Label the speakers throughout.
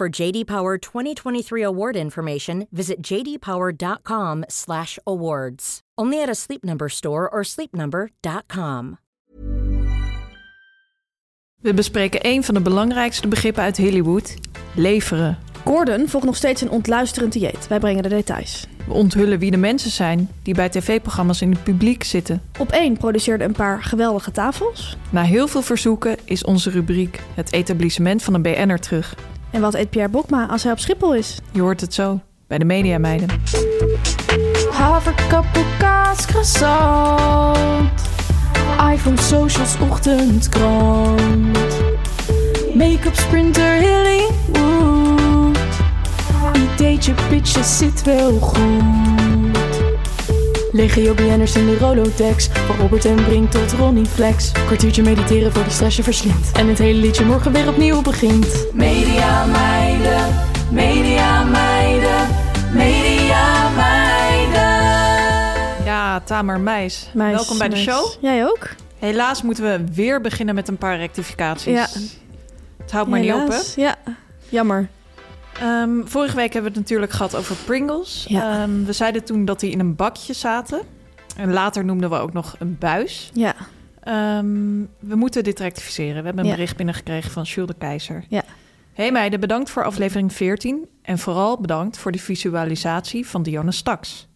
Speaker 1: For JD Power 2023 award information, visit jdpower.com/awards. Only at a Sleep Number store or sleepnumber.com.
Speaker 2: We bespreken een van de belangrijkste begrippen uit Hollywood: leveren.
Speaker 3: Gordon volgt nog steeds een ontluisterend dieet. Wij brengen de details.
Speaker 2: We onthullen wie de mensen zijn die bij tv-programma's in het publiek zitten.
Speaker 3: Op één produceerde een paar geweldige tafels.
Speaker 2: Na heel veel verzoeken is onze rubriek Het etablissement van een BN'er terug.
Speaker 3: En wat eet Pierre Bokma als hij op Schiphol is?
Speaker 2: Je hoort het zo bij de Mediameiden.
Speaker 4: Haverkappelkaas, croissant. iPhone, socials, ochtendkrant. Make-up, sprinter, Hollywood. Ideetje, pitches, zit wel goed. Legio BN'ers in de Rolodex. Van Robert en Brink tot Ronnie Flex. Kwartiertje mediteren voor de stress je verslindt. En het hele liedje morgen weer opnieuw begint. Media meiden, media meiden, media meiden.
Speaker 2: Ja, Tamer Meis.
Speaker 3: Meis,
Speaker 2: Welkom bij de
Speaker 3: meis.
Speaker 2: show.
Speaker 3: Jij ook?
Speaker 2: Helaas moeten we weer beginnen met een paar rectificaties.
Speaker 3: Ja.
Speaker 2: Het houdt maar niet op, hè?
Speaker 3: Helaas. Ja, jammer.
Speaker 2: Ehm, vorige week hebben we het natuurlijk gehad over Pringles.
Speaker 3: Ja.
Speaker 2: Ehm, we zeiden toen dat die in een bakje zaten. En later noemden we ook nog een buis.
Speaker 3: Ja,
Speaker 2: Ehm, we moeten dit rectificeren. We hebben een
Speaker 3: Ja.
Speaker 2: bericht binnengekregen van Jules de Keizer.
Speaker 3: Ja.
Speaker 2: Hey meiden, bedankt voor aflevering 14. En vooral bedankt voor de visualisatie van Dionne Staks.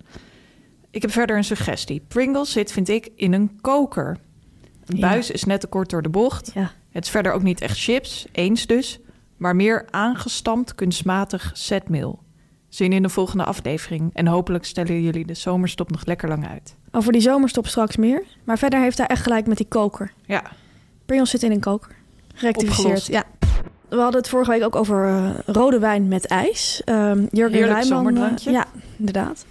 Speaker 2: Ik heb verder een suggestie. Pringles zit, vind ik, in een koker. Een
Speaker 3: Ja.
Speaker 2: buis is net te kort door de bocht.
Speaker 3: ja.
Speaker 2: Het is verder ook niet echt chips, eens dus, maar meer aangestampt kunstmatig zetmeel. Zin in de volgende aflevering en hopelijk stellen jullie de zomerstop nog lekker lang uit.
Speaker 3: Over die zomerstop straks meer. Maar verder heeft hij echt gelijk met die koker.
Speaker 2: Ja,
Speaker 3: Pringles zit in een koker. Gerectificeerd.
Speaker 2: Opgelost.
Speaker 3: Ja. We hadden het vorige week ook over eh, rode wijn met ijs. Ehm Jurgen
Speaker 2: Heerlijk
Speaker 3: Rijman,
Speaker 2: zomerdrankje.
Speaker 3: eh, ja, inderdaad.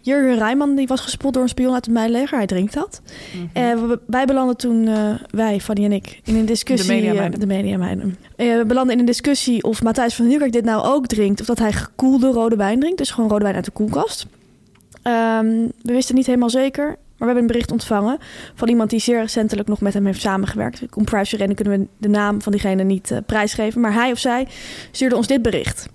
Speaker 3: Jurgen Rijman die was gespot door een spion uit het Mijnleger. Hij drinkt dat. Eh, we, wij belanden toen, eh, wij, Fanny en ik, in een discussie.
Speaker 2: De mediameiden.
Speaker 3: eh, de mediameiden. Eh, we belanden in een discussie of Matthijs van Nieuwkerk dit nou ook drinkt. Of dat hij gekoelde rode wijn drinkt. Dus gewoon rode wijn uit de koelkast. Ehm, we wisten niet helemaal zeker. Maar we hebben een bericht ontvangen van iemand die zeer recentelijk nog met hem heeft samengewerkt. Om privacy redenen kunnen we de naam van diegene niet eh, prijsgeven. Maar hij of zij stuurde ons dit bericht.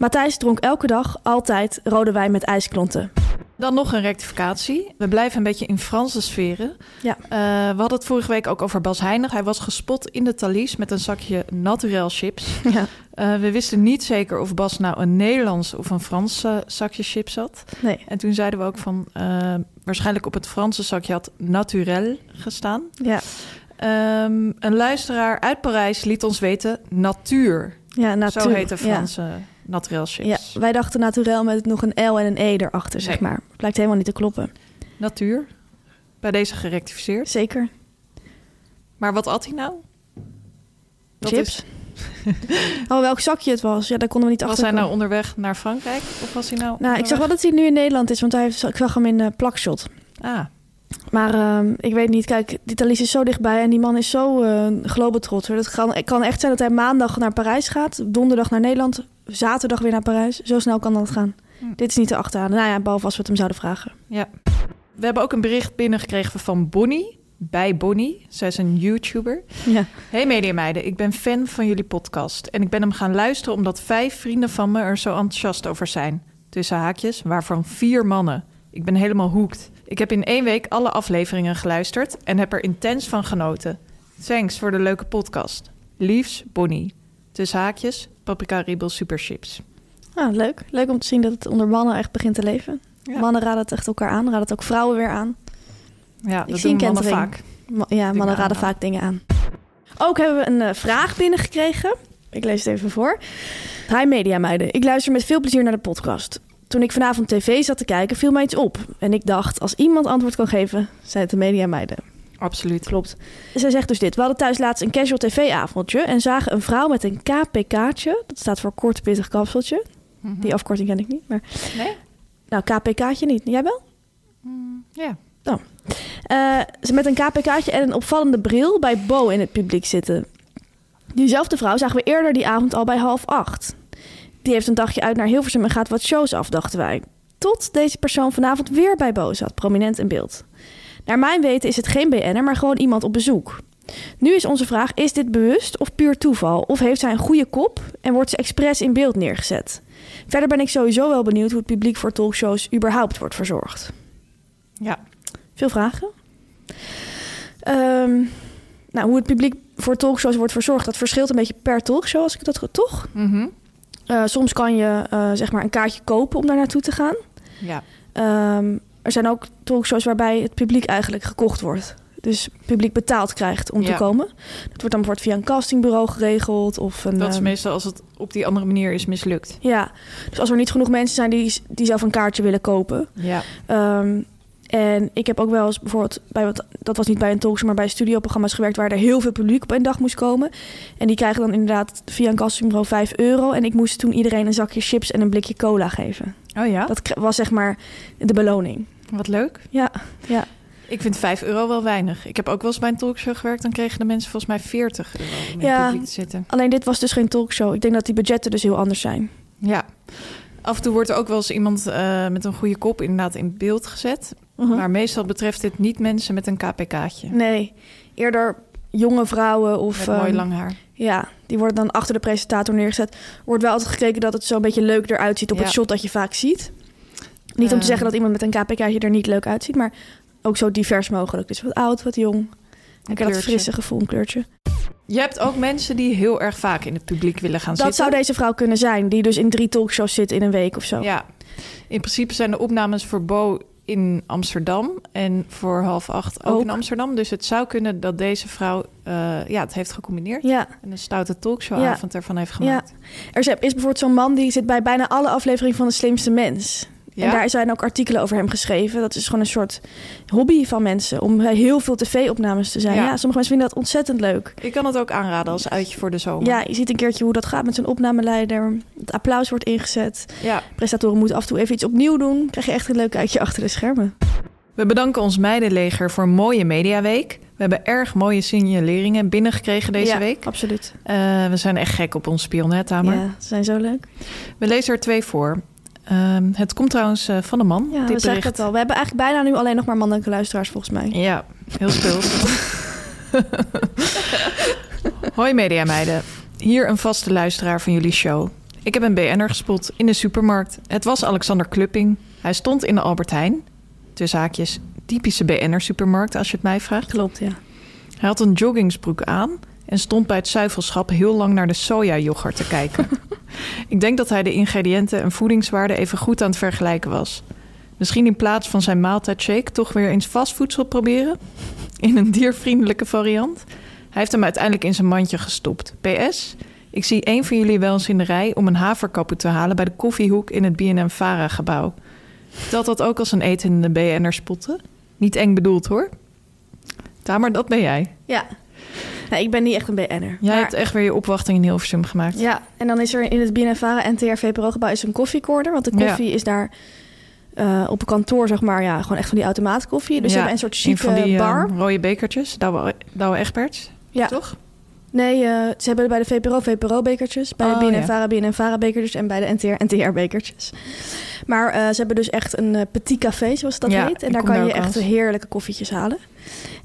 Speaker 3: Matthijs dronk elke dag altijd rode wijn met ijsklonten.
Speaker 2: Dan nog een rectificatie. We blijven een beetje in Franse sferen.
Speaker 3: Ja.
Speaker 2: Eh, we hadden het vorige week ook over Bas Heinig. Hij was gespot in de Thalys met een zakje naturel chips.
Speaker 3: Ja.
Speaker 2: Eh, we wisten niet zeker of Bas nou een Nederlands of een Frans eh, zakje chips had.
Speaker 3: Nee,
Speaker 2: En toen zeiden we ook van, eh, waarschijnlijk op het Franse zakje had naturel gestaan.
Speaker 3: ja.
Speaker 2: Ehm, een luisteraar uit Parijs liet ons weten natuur.
Speaker 3: Ja, natuur.
Speaker 2: Zo heten
Speaker 3: Ja.
Speaker 2: Franse naturel
Speaker 3: Ja.
Speaker 2: chips.
Speaker 3: wij dachten naturel met nog een L en een E erachter, zeg
Speaker 2: Nee.
Speaker 3: maar. Blijkt helemaal niet te kloppen.
Speaker 2: Natuur. Bij deze gerectificeerd.
Speaker 3: Zeker.
Speaker 2: Maar wat at hij nou? Dat
Speaker 3: Chips. Oh, welk zakje het was. Ja, daar konden we niet
Speaker 2: was
Speaker 3: achter
Speaker 2: hij nou onderweg naar Frankrijk? Of was hij nou...
Speaker 3: Nou, ik zag wel dat hij nu in Nederland is, want hij heeft, ik zag hem in eh, plakshot.
Speaker 2: Ah,
Speaker 3: Maar ehm, ik weet niet, kijk, die Thalys is zo dichtbij en die man is zo eh globetrotter. Dat kan, het kan echt zijn dat hij maandag naar Parijs gaat, donderdag naar Nederland, zaterdag weer naar Parijs. Zo snel kan dat gaan.
Speaker 2: Hm.
Speaker 3: Dit is niet te achterhalen. Nou ja, behalve als we het hem zouden vragen.
Speaker 2: ja. We hebben ook een bericht binnengekregen van Bonnie. Bij Bonnie. Zij is een YouTuber.
Speaker 3: Ja.
Speaker 2: Hey mediameiden, ik ben fan van jullie podcast. En ik ben hem gaan luisteren omdat vijf vrienden van me er zo enthousiast over zijn. Tussen haakjes, waarvan vier mannen. Ik ben helemaal hoekt. Ik heb in één week alle afleveringen geluisterd en heb er intens van genoten. Thanks voor de leuke podcast. Liefs, Bonnie. Tussen haakjes, paprika ribbel superchips.
Speaker 3: Ah, leuk. Leuk om te zien dat het onder mannen echt begint te leven.
Speaker 2: Ja.
Speaker 3: Mannen raden het echt elkaar aan, raden het ook vrouwen weer aan.
Speaker 2: Ja, dat
Speaker 3: zie
Speaker 2: doen
Speaker 3: een
Speaker 2: mannen
Speaker 3: kentering.
Speaker 2: vaak.
Speaker 3: Ma- ja, mannen raden
Speaker 2: aanraden.
Speaker 3: vaak dingen aan. Ook hebben we een eh, vraag binnengekregen. Ik lees het even voor. Hi Media Meiden, ik luister met veel plezier naar de podcast. Toen ik vanavond tv zat te kijken, viel mij iets op. En ik dacht, als iemand antwoord kan geven, zijn het de Media Meiden.
Speaker 2: Absoluut.
Speaker 3: Klopt. Zij zegt dus dit. We hadden thuis laatst een casual tv-avondje en zagen een vrouw met een KPK'tje. Dat staat voor kort pittig kapseltje. Die afkorting ken ik niet, maar...
Speaker 2: Nee?
Speaker 3: Nou, KPK'tje niet. Jij wel?
Speaker 2: Ja.
Speaker 3: Nou, Eh, ze met een KPK'tje en een opvallende bril bij Bo in het publiek zitten. Diezelfde vrouw zagen we eerder die avond al bij half acht. Die heeft een dagje uit naar Hilversum en gaat wat shows af, dachten wij. Tot deze persoon vanavond weer bij Bo zat, prominent in beeld. Naar mijn weten is het geen BN'er, maar gewoon iemand op bezoek. Nu is onze vraag, is dit bewust of puur toeval? Of heeft zij een goede kop en wordt ze expres in beeld neergezet? Verder ben ik sowieso wel benieuwd hoe het publiek voor talkshows überhaupt wordt verzorgd.
Speaker 2: Ja.
Speaker 3: Veel vragen. Ehm, nou, hoe het publiek voor talkshows wordt verzorgd, dat verschilt een beetje per talkshow, als ik dat goed toch?
Speaker 2: Mhm.
Speaker 3: Eh, soms kan je eh, zeg maar een kaartje kopen om daar naartoe te gaan.
Speaker 2: Ja.
Speaker 3: Ehm, er zijn ook talkshows waarbij het publiek eigenlijk gekocht wordt. Dus het publiek betaald krijgt om te
Speaker 2: Ja.
Speaker 3: komen. Dat wordt dan bijvoorbeeld via een castingbureau geregeld. Of een,
Speaker 2: Dat is
Speaker 3: ehm,
Speaker 2: meestal als het op die andere manier is mislukt.
Speaker 3: Ja, dus als er niet genoeg mensen zijn die, die zelf een kaartje willen kopen,
Speaker 2: Ja.
Speaker 3: Ehm, en ik heb ook wel eens bijvoorbeeld bij wat dat was niet bij een talkshow, maar bij studioprogramma's gewerkt waar er heel veel publiek op een dag moest komen. En die krijgen dan inderdaad via een castingbureau 5 euro. En ik moest toen iedereen een zakje chips en een blikje cola geven.
Speaker 2: Oh ja?
Speaker 3: Dat kre- was zeg maar de beloning.
Speaker 2: Wat leuk.
Speaker 3: Ja, ja.
Speaker 2: Ik vind 5 euro wel weinig. Ik heb ook wel eens bij een talkshow gewerkt. Dan kregen de mensen volgens mij 40 euro om in
Speaker 3: Ja.
Speaker 2: het publiek te zitten.
Speaker 3: Alleen dit was dus geen talkshow. Ik denk dat die budgetten dus heel anders zijn.
Speaker 2: Ja. Af en toe wordt er ook wel eens iemand eh, met een goede kop inderdaad in beeld gezet.
Speaker 3: Mhm.
Speaker 2: Maar meestal betreft dit niet mensen met een KPK'tje.
Speaker 3: Nee, eerder jonge vrouwen of
Speaker 2: Met mooi
Speaker 3: ehm,
Speaker 2: lang haar.
Speaker 3: Ja, die worden dan achter de presentator neergezet. Wordt wel altijd gekeken dat het zo'n beetje leuk eruit ziet op
Speaker 2: Ja.
Speaker 3: het shot dat je vaak ziet. Niet om te
Speaker 2: Eh.
Speaker 3: zeggen dat iemand met een KPK'tje er niet leuk uitziet, maar ook zo divers mogelijk. Dus wat oud, wat jong. Lekker dat
Speaker 2: kleurtje.
Speaker 3: frisse gevoel, een kleurtje.
Speaker 2: Je hebt ook mensen die heel erg vaak in het publiek willen gaan
Speaker 3: Dat
Speaker 2: zitten.
Speaker 3: zou deze vrouw kunnen zijn, die dus in drie talkshows zit in een week of zo.
Speaker 2: Ja. In principe zijn de opnames voor Bo in Amsterdam en voor half acht ook,
Speaker 3: Ook.
Speaker 2: in Amsterdam. Dus het zou kunnen dat deze vrouw eh, ja, het heeft gecombineerd.
Speaker 3: Ja.
Speaker 2: En een stoute talkshowavond ervan heeft
Speaker 3: ja.
Speaker 2: gemaakt.
Speaker 3: Er is is bijvoorbeeld zo'n man die zit bij bijna alle afleveringen van De Slimste Mens.
Speaker 2: Ja.
Speaker 3: En daar zijn ook artikelen over hem geschreven. Dat is gewoon een soort hobby van mensen om bij heel veel tv-opnames te zijn.
Speaker 2: Ja.
Speaker 3: Ja, sommige mensen vinden dat ontzettend leuk.
Speaker 2: Ik kan het ook aanraden als uitje voor de zomer.
Speaker 3: Ja, je ziet een keertje hoe dat gaat met zo'n opnameleider. Het applaus wordt ingezet.
Speaker 2: ja.
Speaker 3: Prestatoren moeten af en toe even iets opnieuw doen. Krijg je echt een leuk uitje achter de schermen.
Speaker 2: We bedanken ons meidenleger voor een mooie mediaweek. We hebben erg mooie signaleringen binnengekregen deze
Speaker 3: Ja,
Speaker 2: week.
Speaker 3: Absoluut.
Speaker 2: Eh, we zijn echt gek op ons spion, hè, Tamer?
Speaker 3: Ja, ze zijn zo leuk.
Speaker 2: We lezen er twee voor. Ehm, het komt trouwens eh, van een man,
Speaker 3: Ja,
Speaker 2: dit
Speaker 3: we zeggen
Speaker 2: bericht.
Speaker 3: het al. We hebben eigenlijk bijna nu alleen nog maar mannelijke luisteraars volgens mij.
Speaker 2: Ja, heel speels. Hoi mediameiden. Hier een vaste luisteraar van jullie show. Ik heb een BN'er gespot in de supermarkt. Het was Alexander Klupping. Hij stond in de Albert Heijn. Tussen haakjes, typische BN'er supermarkt als je het mij vraagt.
Speaker 3: Klopt, ja.
Speaker 2: Hij had een joggingsbroek aan en stond bij het zuivelschap heel lang naar de sojayoghurt te kijken. Ik denk dat hij de ingrediënten en voedingswaarde even goed aan het vergelijken was. Misschien in plaats van zijn maaltijdshake toch weer eens vastvoedsel proberen? In een diervriendelijke variant? Hij heeft hem uiteindelijk in zijn mandje gestopt. PS, ik zie één van jullie wel eens in de rij om een haverkappel te halen bij de koffiehoek in het BNM Vara gebouw. Telt dat ook als een etende BN'er spotten? Niet eng bedoeld hoor. Tamer, dat ben jij.
Speaker 3: Ja. Nou, ik ben niet echt een BN'er.
Speaker 2: Jij
Speaker 3: Maar-
Speaker 2: hebt echt weer je opwachting in Hilversum gemaakt.
Speaker 3: Ja, en dan is er in het BNNVARA en TRV Parogebouw is een koffiecorner. Want de koffie is daar eh, op een kantoor, zeg maar, ja, gewoon echt van die automaatkoffie. Dus ze
Speaker 2: Ja,
Speaker 3: hebben een soort
Speaker 2: in
Speaker 3: chique
Speaker 2: van die eh,
Speaker 3: bar.
Speaker 2: rode bekertjes, Douwe, Douwe Egberts.
Speaker 3: Ja.
Speaker 2: Toch?
Speaker 3: Nee, eh, ze hebben bij de VPRO VPRO-bekertjes, bij
Speaker 2: Oh,
Speaker 3: de
Speaker 2: ja.
Speaker 3: BNNVARA BNNVARA-bekertjes en bij de NTR NTR-bekertjes. Maar eh, ze hebben dus echt een eh, petit café, zoals dat
Speaker 2: Ja,
Speaker 3: heet. En
Speaker 2: ik
Speaker 3: daar
Speaker 2: kom
Speaker 3: kan
Speaker 2: daar
Speaker 3: je
Speaker 2: ook
Speaker 3: echt
Speaker 2: wel eens.
Speaker 3: heerlijke koffietjes halen.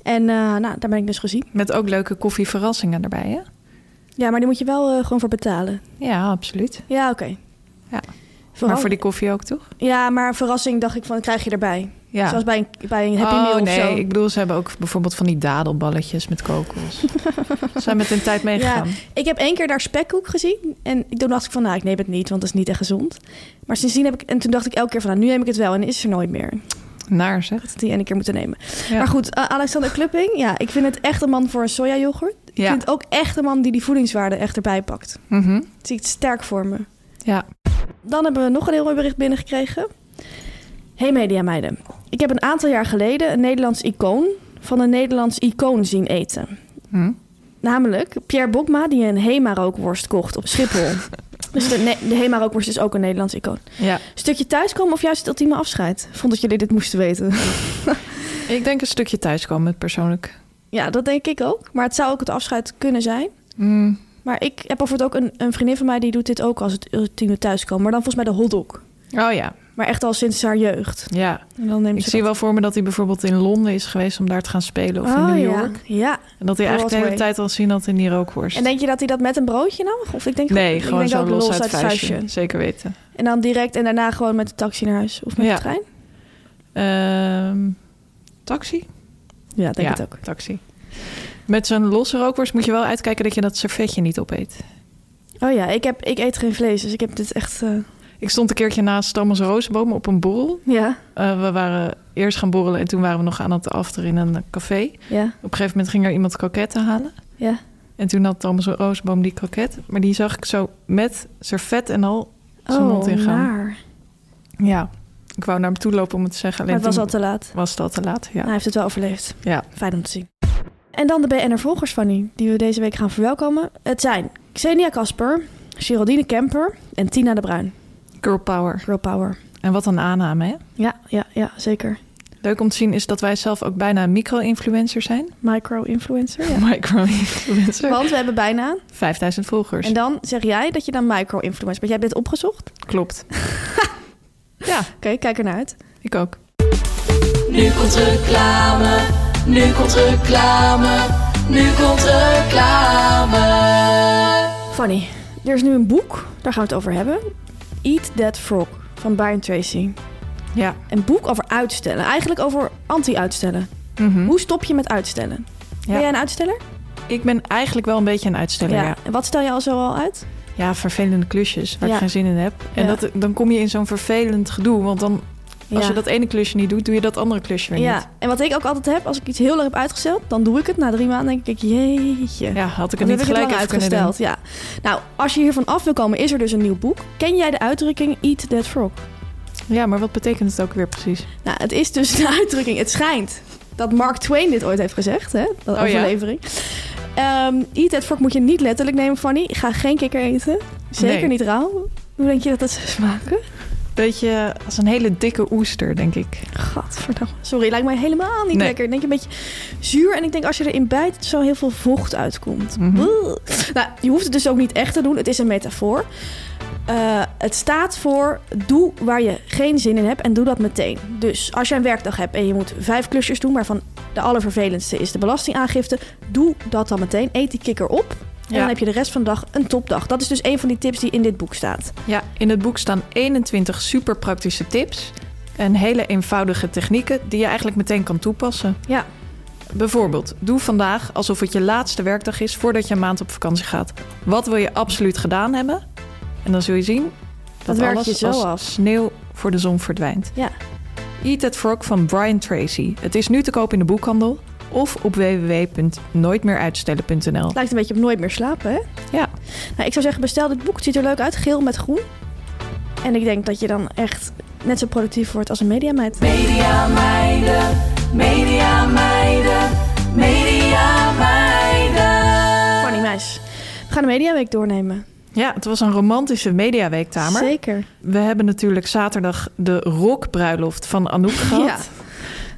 Speaker 3: En eh, nou, daar ben ik dus gezien.
Speaker 2: Met ook leuke koffieverrassingen erbij, hè?
Speaker 3: Ja, maar die moet je wel eh, gewoon voor betalen.
Speaker 2: Ja, absoluut.
Speaker 3: Ja, oké.
Speaker 2: Ja.
Speaker 3: Vooral-
Speaker 2: Maar voor die koffie ook, toch?
Speaker 3: Ja, maar een verrassing dacht ik van, krijg je erbij.
Speaker 2: Ja.
Speaker 3: Zoals bij een, bij een Happy
Speaker 2: oh,
Speaker 3: Meal
Speaker 2: nee,
Speaker 3: of zo.
Speaker 2: ik bedoel, ze hebben ook bijvoorbeeld van die dadelballetjes met kokos. ze zijn met hun tijd meegegaan.
Speaker 3: Ja, ik heb één keer daar spekkoek gezien. En toen dacht ik van, nou, ik neem het niet, want dat is niet echt gezond. Maar sindsdien heb ik... En toen dacht ik elke keer van, nou, nu neem ik het wel. En is er nooit meer.
Speaker 2: Naar zeg.
Speaker 3: Dat die ene keer moeten nemen.
Speaker 2: Ja.
Speaker 3: Maar goed, eh, Alexander Klupping. Ja, ik vind het echt een man voor een sojayoghurt. Ik
Speaker 2: Ja.
Speaker 3: vind het ook echt een man die die voedingswaarde echt erbij pakt.
Speaker 2: Mhm.
Speaker 3: Dat zie ik sterk voor me.
Speaker 2: Ja.
Speaker 3: Dan hebben we nog een heel mooi bericht binnengekregen. Hey media meiden. Ik heb een aantal jaar geleden een Nederlands icoon van een Nederlands icoon zien eten.
Speaker 2: Hm.
Speaker 3: Namelijk Pierre Bokma die een Hema rookworst kocht op Schiphol. dus de, ne- de Hema rookworst is ook een Nederlands icoon.
Speaker 2: ja.
Speaker 3: Stukje thuiskomen of juist het ultieme afscheid? Vond dat jullie dit moesten weten.
Speaker 2: Ik denk een stukje thuiskomen persoonlijk.
Speaker 3: ja, dat denk ik ook. Maar het zou ook het afscheid kunnen zijn.
Speaker 2: Mm,
Speaker 3: Maar ik heb bijvoorbeeld ook een, een vriendin van mij die doet dit ook als het ultieme thuiskomen. Maar dan volgens mij de hotdog.
Speaker 2: Oh ja,
Speaker 3: Maar echt al sinds haar jeugd.
Speaker 2: ja.
Speaker 3: En dan neemt
Speaker 2: Ik
Speaker 3: ze
Speaker 2: zie
Speaker 3: dat- Oh
Speaker 2: wel voor me dat hij bijvoorbeeld in Londen is geweest om daar te gaan spelen. Of in New
Speaker 3: ja.
Speaker 2: York.
Speaker 3: Ja.
Speaker 2: En dat hij eigenlijk de hele
Speaker 3: Broadway.
Speaker 2: tijd al zien had in die rookworst.
Speaker 3: En denk je dat hij dat met een broodje nam? Of ik denk
Speaker 2: nee,
Speaker 3: ik
Speaker 2: gewoon
Speaker 3: denk
Speaker 2: zo
Speaker 3: ook
Speaker 2: los, uit het vuistje. Zeker weten.
Speaker 3: En dan direct en daarna gewoon met de taxi naar huis of met
Speaker 2: Ja.
Speaker 3: de trein?
Speaker 2: Ehm, taxi?
Speaker 3: Ja, denk
Speaker 2: ja,
Speaker 3: het ook.
Speaker 2: taxi. Met zo'n losse rookworst moet je wel uitkijken dat je dat servetje niet opeet.
Speaker 3: Oh ja, ik, heb, ik eet geen vlees, dus ik heb dit echt. eh,
Speaker 2: Ik stond een keertje naast Thomas Rozenboom op een borrel.
Speaker 3: ja,
Speaker 2: Eh, we waren eerst gaan borrelen en toen waren we nog aan het afteren in een café.
Speaker 3: ja,
Speaker 2: Op een gegeven moment ging er iemand kroketten halen.
Speaker 3: ja.
Speaker 2: En toen had Thomas Rozenboom die kroket. Maar die zag ik zo met servet en al zijn
Speaker 3: oh,
Speaker 2: mond ingaan.
Speaker 3: naar. Maar
Speaker 2: Ja, ik wou naar hem toe lopen om het te zeggen. Alleen
Speaker 3: het was Ah,
Speaker 2: toen
Speaker 3: al te laat.
Speaker 2: was het al te laat. Ja.
Speaker 3: Nou, Hij heeft het wel overleefd.
Speaker 2: Ja.
Speaker 3: Fijn om te zien. En dan de BNR-volgers van nu, die we deze week gaan verwelkomen. Het zijn Xenia Kasper, Geraldine Kemper en Tina de Bruin.
Speaker 2: Girl power.
Speaker 3: Girl power.
Speaker 2: En wat een aanname, hè?
Speaker 3: Ja, ja, ja, zeker.
Speaker 2: Leuk om te zien is dat wij zelf ook bijna micro-influencer zijn.
Speaker 3: Micro-influencer, ja.
Speaker 2: Micro-influencer.
Speaker 3: Want we hebben bijna
Speaker 2: 5000 volgers.
Speaker 3: En dan zeg jij dat je dan micro-influencer bent. Jij hebt dit opgezocht? Oké,
Speaker 2: Klopt. ja,
Speaker 3: kijk ernaar uit.
Speaker 2: ik ook.
Speaker 4: Nu komt reclame, nu komt reclame, nu komt reclame.
Speaker 3: Fanny, er is nu een boek, daar gaan we het over hebben. Eat That Frog van Brian Tracy.
Speaker 2: Ja.
Speaker 3: Een boek over uitstellen. Eigenlijk over anti-uitstellen.
Speaker 2: Mhm.
Speaker 3: Hoe stop je met uitstellen? Ben jij een uitsteller?
Speaker 2: Ik ben eigenlijk wel een beetje een uitsteller, ja.
Speaker 3: En wat stel je al zo al uit?
Speaker 2: Ja, vervelende klusjes waar
Speaker 3: Ja.
Speaker 2: ik geen zin in heb. En
Speaker 3: Ja.
Speaker 2: dat, dan kom je in zo'n vervelend gedoe. Want dan, als
Speaker 3: ja.
Speaker 2: je dat ene klusje niet doet, doe je dat andere klusje weer niet.
Speaker 3: ja. En wat ik ook altijd heb, als ik iets heel lang heb uitgesteld, dan doe ik het. Na drie maanden denk ik, jeetje.
Speaker 2: Ja, had ik het
Speaker 3: Dan heb
Speaker 2: niet
Speaker 3: ik het
Speaker 2: gelijk
Speaker 3: lang
Speaker 2: even kunnen doen.
Speaker 3: uitgesteld. Ja. Nou, als je hiervan af wil komen, is er dus een nieuw boek. Ken jij de uitdrukking Eat That Frog?
Speaker 2: Ja, maar wat betekent het ook weer precies?
Speaker 3: Nou, het is dus de uitdrukking. Het schijnt dat Mark Twain dit ooit heeft gezegd, hè? Dat
Speaker 2: Oh, ja?
Speaker 3: overlevering. Ehm, eat that fork moet je niet letterlijk nemen, Fanny. Ga geen kikker eten. Zeker
Speaker 2: Nee.
Speaker 3: niet rauw. Hoe denk je dat dat ze smaken?
Speaker 2: Beetje als een hele dikke oester, denk ik.
Speaker 3: Gadverdamme. Sorry, lijkt mij helemaal niet
Speaker 2: Nee.
Speaker 3: lekker. Ik denk een beetje zuur. En ik denk als je erin bijt, dat zo heel veel vocht uitkomt.
Speaker 2: Mhm.
Speaker 3: Buh. Nou, je hoeft het dus ook niet echt te doen. Het is een metafoor. Eh, het staat voor doe waar je geen zin in hebt en doe dat meteen. Dus als je een werkdag hebt en je moet vijf klusjes doen, waarvan de allervervelendste is de belastingaangifte, doe dat dan meteen. Eet die kikker op en
Speaker 2: Ja.
Speaker 3: dan heb je de rest van de dag een topdag. Dat is dus een van die tips die in dit boek staat.
Speaker 2: Ja, in het boek staan 21 super praktische tips en hele eenvoudige technieken die je eigenlijk meteen kan toepassen.
Speaker 3: Ja,
Speaker 2: Bijvoorbeeld, doe vandaag alsof het je laatste werkdag is voordat je een maand op vakantie gaat. Wat wil je absoluut gedaan hebben? En dan zul je zien dat
Speaker 3: Dat werk je
Speaker 2: alles
Speaker 3: zo
Speaker 2: als
Speaker 3: af.
Speaker 2: sneeuw voor de zon verdwijnt.
Speaker 3: ja.
Speaker 2: Eat That Frog van Brian Tracy. Het is nu te koop in de boekhandel of op www.nooitmeeruitstellen.nl.
Speaker 3: Het lijkt een beetje op nooit meer slapen, hè?
Speaker 2: Ja,
Speaker 3: Nou, ik zou zeggen, bestel dit boek. Het ziet er leuk uit, geel met groen. En ik denk dat je dan echt net zo productief wordt als een mediameid.
Speaker 4: Media meiden, media meiden, media meiden.
Speaker 3: Fanny Meis. We gaan de Mediaweek doornemen.
Speaker 2: ja het was een romantische mediaweektamer.
Speaker 3: Zeker.
Speaker 2: We hebben natuurlijk zaterdag de rockbruiloft van Anouk gehad.
Speaker 3: Ja.